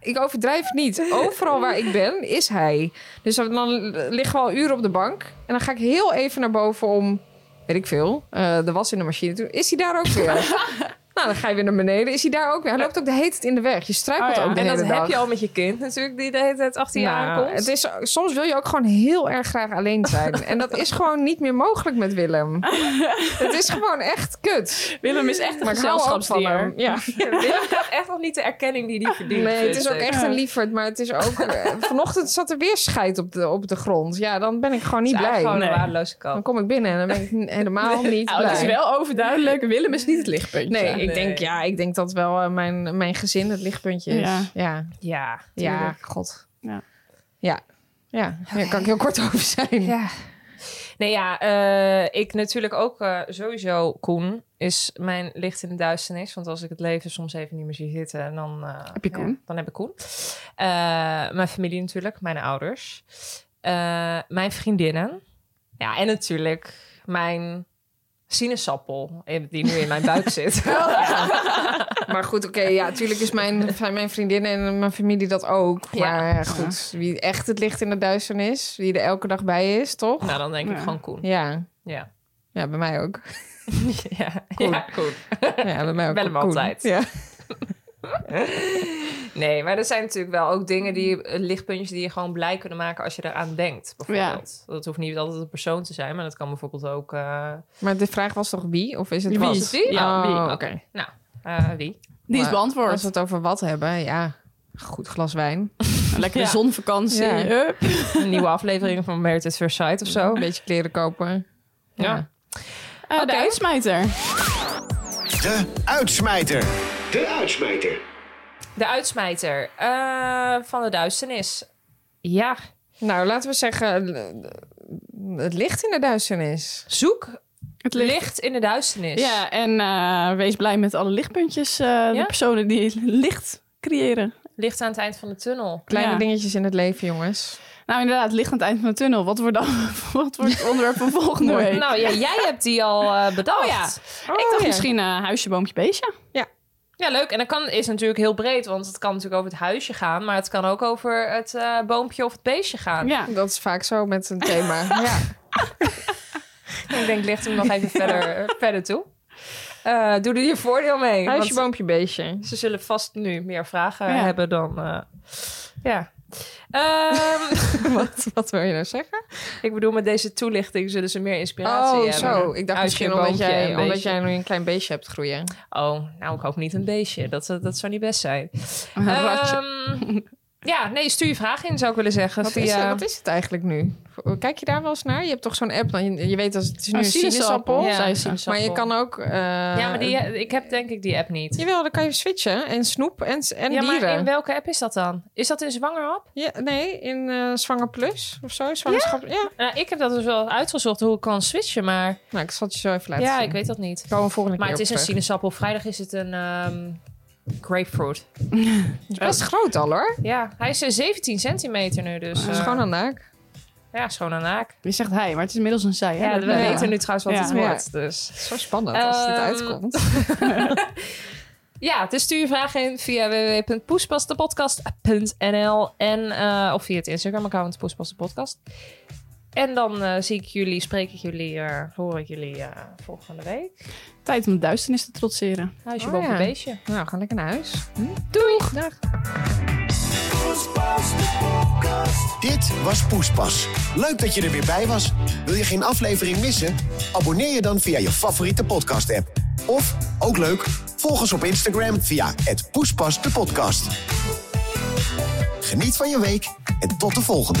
[SPEAKER 5] Ik overdrijf niet. Overal waar ik ben, is hij. Dus dan- dan liggen we al uren op de bank. En dan ga ik heel even naar boven om, weet ik veel, eh, de was in de machine toe. Is hij daar ook weer? nou, dan ga je weer naar beneden. Is hij daar ook weer? Hij loopt ook de hele tijd in de weg. Je struikelt
[SPEAKER 6] Oh ja.
[SPEAKER 5] ook de
[SPEAKER 4] en dat
[SPEAKER 5] hele
[SPEAKER 4] heb
[SPEAKER 5] dag.
[SPEAKER 4] je al met je kind natuurlijk, die de hele tijd achter je
[SPEAKER 5] Nou,
[SPEAKER 4] aankomt.
[SPEAKER 5] het is, soms wil je ook gewoon heel erg graag alleen zijn. en dat is gewoon niet meer mogelijk met Willem. het is gewoon echt kut.
[SPEAKER 6] Willem is echt een
[SPEAKER 5] Maar ik hou ook van hem.
[SPEAKER 6] gezelschapsdier.
[SPEAKER 5] Ja.
[SPEAKER 4] Willem krijgt echt nog niet de erkenning die hij verdient.
[SPEAKER 5] Ah, Nee, het is ook
[SPEAKER 4] vind ik.
[SPEAKER 5] echt een lieverd, maar het is ook... eh, vanochtend zat er weer scheid op de, op de grond. Ja, dan ben ik gewoon niet
[SPEAKER 4] Het is eigenlijk gewoon
[SPEAKER 5] blij.
[SPEAKER 4] een
[SPEAKER 6] Nee.
[SPEAKER 4] waardeloze kat.
[SPEAKER 5] Dan kom ik binnen en dan ben ik n- helemaal niet
[SPEAKER 6] Nou,
[SPEAKER 5] blij.
[SPEAKER 6] het is wel overduidelijk. Willem is niet het lichtpuntje.
[SPEAKER 5] Nee,
[SPEAKER 4] Nee.
[SPEAKER 5] ik denk, ja, ik denk dat wel eh, mijn, mijn gezin het lichtpuntje is.
[SPEAKER 6] Ja.
[SPEAKER 5] Ja, ja,
[SPEAKER 4] Ja.
[SPEAKER 5] god.
[SPEAKER 6] Ja.
[SPEAKER 5] Ja, ja. ja daar kan ik heel kort over zijn. Ja.
[SPEAKER 4] Nee, ja, eh, ik natuurlijk ook eh, sowieso, Koen, is mijn licht in de duisternis. Want als ik het leven soms even niet meer zie zitten, dan... eh,
[SPEAKER 6] Heb je Koen?
[SPEAKER 4] ja, dan heb ik Koen. Eh, mijn familie natuurlijk, mijn ouders. Eh, mijn vriendinnen. Ja, en natuurlijk mijn sinaasappel, eh, die nu in mijn buik zit.
[SPEAKER 5] Oh. Maar goed, oké, ja, natuurlijk is mijn, zijn mijn vriendinnen en mijn familie dat ook.
[SPEAKER 4] Ja.
[SPEAKER 5] Maar eh, goed, wie echt het licht in de duisternis, wie er elke dag bij is, toch?
[SPEAKER 4] nou, dan denk ik
[SPEAKER 6] Ja.
[SPEAKER 4] gewoon Koen.
[SPEAKER 5] Ja,
[SPEAKER 4] Ja.
[SPEAKER 5] ja bij mij ook.
[SPEAKER 4] ja,
[SPEAKER 5] Koen.
[SPEAKER 4] ja, Koen.
[SPEAKER 5] Ja, bij mij ook.
[SPEAKER 4] Bel hem
[SPEAKER 5] Koen.
[SPEAKER 4] altijd.
[SPEAKER 5] Ja.
[SPEAKER 4] Nee, maar er zijn natuurlijk wel ook dingen
[SPEAKER 5] Mm.
[SPEAKER 4] die eh, lichtpuntjes die je gewoon blij kunnen maken als je eraan denkt. Bijvoorbeeld. Dat hoeft niet altijd een persoon te zijn, maar dat kan bijvoorbeeld ook. eh,
[SPEAKER 5] Maar de vraag was toch wie? Of is het
[SPEAKER 6] Wie?
[SPEAKER 5] wat?
[SPEAKER 4] Was het wie?
[SPEAKER 6] Ja, wie?
[SPEAKER 5] Oh,
[SPEAKER 6] Oké.
[SPEAKER 5] Oké.
[SPEAKER 4] nou, eh, wie?
[SPEAKER 6] Die is
[SPEAKER 5] Maar Als
[SPEAKER 6] beantwoord.
[SPEAKER 5] we het over wat hebben, ja, goed glas wijn.
[SPEAKER 6] Een lekkere
[SPEAKER 4] Ja.
[SPEAKER 6] zonvakantie.
[SPEAKER 5] Ja.
[SPEAKER 6] Hup.
[SPEAKER 4] Een nieuwe aflevering van Merit at First Sight of zo.
[SPEAKER 5] Een beetje kleren kopen.
[SPEAKER 4] Ja.
[SPEAKER 6] Eh, De uitsmijter.
[SPEAKER 3] De uitsmijter.
[SPEAKER 8] De uitsmijter.
[SPEAKER 4] De uitsmijter eh, van de duisternis. Ja,
[SPEAKER 5] Nou, laten we zeggen, eh, het licht in de duisternis.
[SPEAKER 4] zoek
[SPEAKER 6] Het
[SPEAKER 4] licht, in de duisternis.
[SPEAKER 6] Ja, en eh, wees blij met alle lichtpuntjes. eh, De
[SPEAKER 4] Ja?
[SPEAKER 6] personen die licht creëren.
[SPEAKER 4] Licht aan het eind van de tunnel.
[SPEAKER 5] Kleine
[SPEAKER 6] Ja.
[SPEAKER 5] dingetjes in het leven, jongens.
[SPEAKER 6] Nou, inderdaad, licht aan het eind van de tunnel. Wat wordt, dan, wat wordt het onderwerp van volgende week?
[SPEAKER 4] Nou ja, jij hebt die al eh, bedacht.
[SPEAKER 6] Oh ja. ik dacht misschien eh, huisje, boompje, beestje.
[SPEAKER 4] Ja, leuk. En dat kan, is natuurlijk heel breed, want het kan natuurlijk over het huisje gaan, maar het kan ook over het eh, boompje of het beestje gaan.
[SPEAKER 6] Ja.
[SPEAKER 5] Dat is vaak zo met een thema. ja.
[SPEAKER 4] Ik denk, licht hem nog even verder, verder toe. Eh, doe er je voordeel mee.
[SPEAKER 5] Huisje,
[SPEAKER 4] want
[SPEAKER 5] boompje, beestje.
[SPEAKER 4] ze zullen vast nu meer vragen
[SPEAKER 6] Ja.
[SPEAKER 4] hebben dan. eh, ja. Ehm,
[SPEAKER 5] wat, wat wil je nou zeggen?
[SPEAKER 4] ik bedoel, met deze toelichting zullen ze meer inspiratie
[SPEAKER 5] Oh,
[SPEAKER 4] hebben.
[SPEAKER 5] zo. Ik dacht
[SPEAKER 4] Huisje,
[SPEAKER 5] misschien omdat
[SPEAKER 4] boompje en
[SPEAKER 5] jij, omdat
[SPEAKER 4] beestje.
[SPEAKER 5] jij nu een klein beestje hebt groeien.
[SPEAKER 4] eh, Oh, nou, ik hoop niet een beestje. Dat, dat zou niet best zijn.
[SPEAKER 6] Een ratje.
[SPEAKER 4] Ehm, Ja, nee, stuur je vraag in, zou ik willen zeggen.
[SPEAKER 5] Wat, is,
[SPEAKER 4] via...
[SPEAKER 5] het- wat is het eigenlijk nu? Kijk je daar wel eens naar? Je hebt toch zo'n app, dan je, je weet dat het is
[SPEAKER 4] Oh,
[SPEAKER 5] nu
[SPEAKER 6] Een
[SPEAKER 5] een sinaasappel.
[SPEAKER 6] sinaasappel, zei ze.
[SPEAKER 5] Maar je kan ook... eh,
[SPEAKER 4] Ja, maar die, ik heb denk ik die app niet.
[SPEAKER 5] Jawel, dan kan je switchen. En snoep en, en
[SPEAKER 4] ja, maar
[SPEAKER 5] dieren.
[SPEAKER 4] in welke app is dat dan? Is dat in zwangerhap?
[SPEAKER 5] Ja, nee, in eh, Zwanger Plus of zo. Zwangerschap. Ja?
[SPEAKER 4] Nou, ik heb dat dus wel uitgezocht hoe ik kan switchen, maar
[SPEAKER 5] Nou, ik zal het je zo even laten
[SPEAKER 4] ja,
[SPEAKER 5] zien.
[SPEAKER 4] ik weet dat niet.
[SPEAKER 5] Komen we volgende
[SPEAKER 4] Maar
[SPEAKER 5] keer
[SPEAKER 4] het is
[SPEAKER 5] op
[SPEAKER 4] een
[SPEAKER 5] terug.
[SPEAKER 4] sinaasappel. Vrijdag is het een ehm, grapefruit.
[SPEAKER 5] Het is best groot al hoor.
[SPEAKER 4] Ja, hij is eh, 17 centimeter nu, dus
[SPEAKER 5] Het
[SPEAKER 4] eh,
[SPEAKER 5] is gewoon een naak.
[SPEAKER 4] ja, schoon aan haak.
[SPEAKER 6] Je zegt hij, maar het is inmiddels een zij. Hè?
[SPEAKER 4] Ja,
[SPEAKER 6] Dat
[SPEAKER 4] we
[SPEAKER 6] weet ik.
[SPEAKER 4] weten nu trouwens wat
[SPEAKER 6] Ja.
[SPEAKER 4] het wordt, dus...
[SPEAKER 5] Zo spannend als het
[SPEAKER 4] Ehm,
[SPEAKER 5] uitkomt.
[SPEAKER 4] Ja, dus stuur je vragen in via www.poespastepodcast.nl en eh, of via het Instagram-account Poespastepodcast. En dan eh, zie ik jullie, spreek ik jullie, eh, hoor ik jullie eh, volgende week.
[SPEAKER 6] Tijd om de duisternis te trotseren.
[SPEAKER 4] Huisje
[SPEAKER 5] Oh,
[SPEAKER 4] boven
[SPEAKER 5] ja.
[SPEAKER 4] beestje.
[SPEAKER 5] Nou, we gaan lekker naar huis.
[SPEAKER 4] Doei!
[SPEAKER 5] Dag.
[SPEAKER 3] Dit was Poespas. Leuk dat je er weer bij was. Wil je geen aflevering missen? Abonneer je dan via je favoriete podcast-app. Of, ook leuk, volg ons op Instagram via het Poespas de podcast. Geniet van je week en tot de volgende.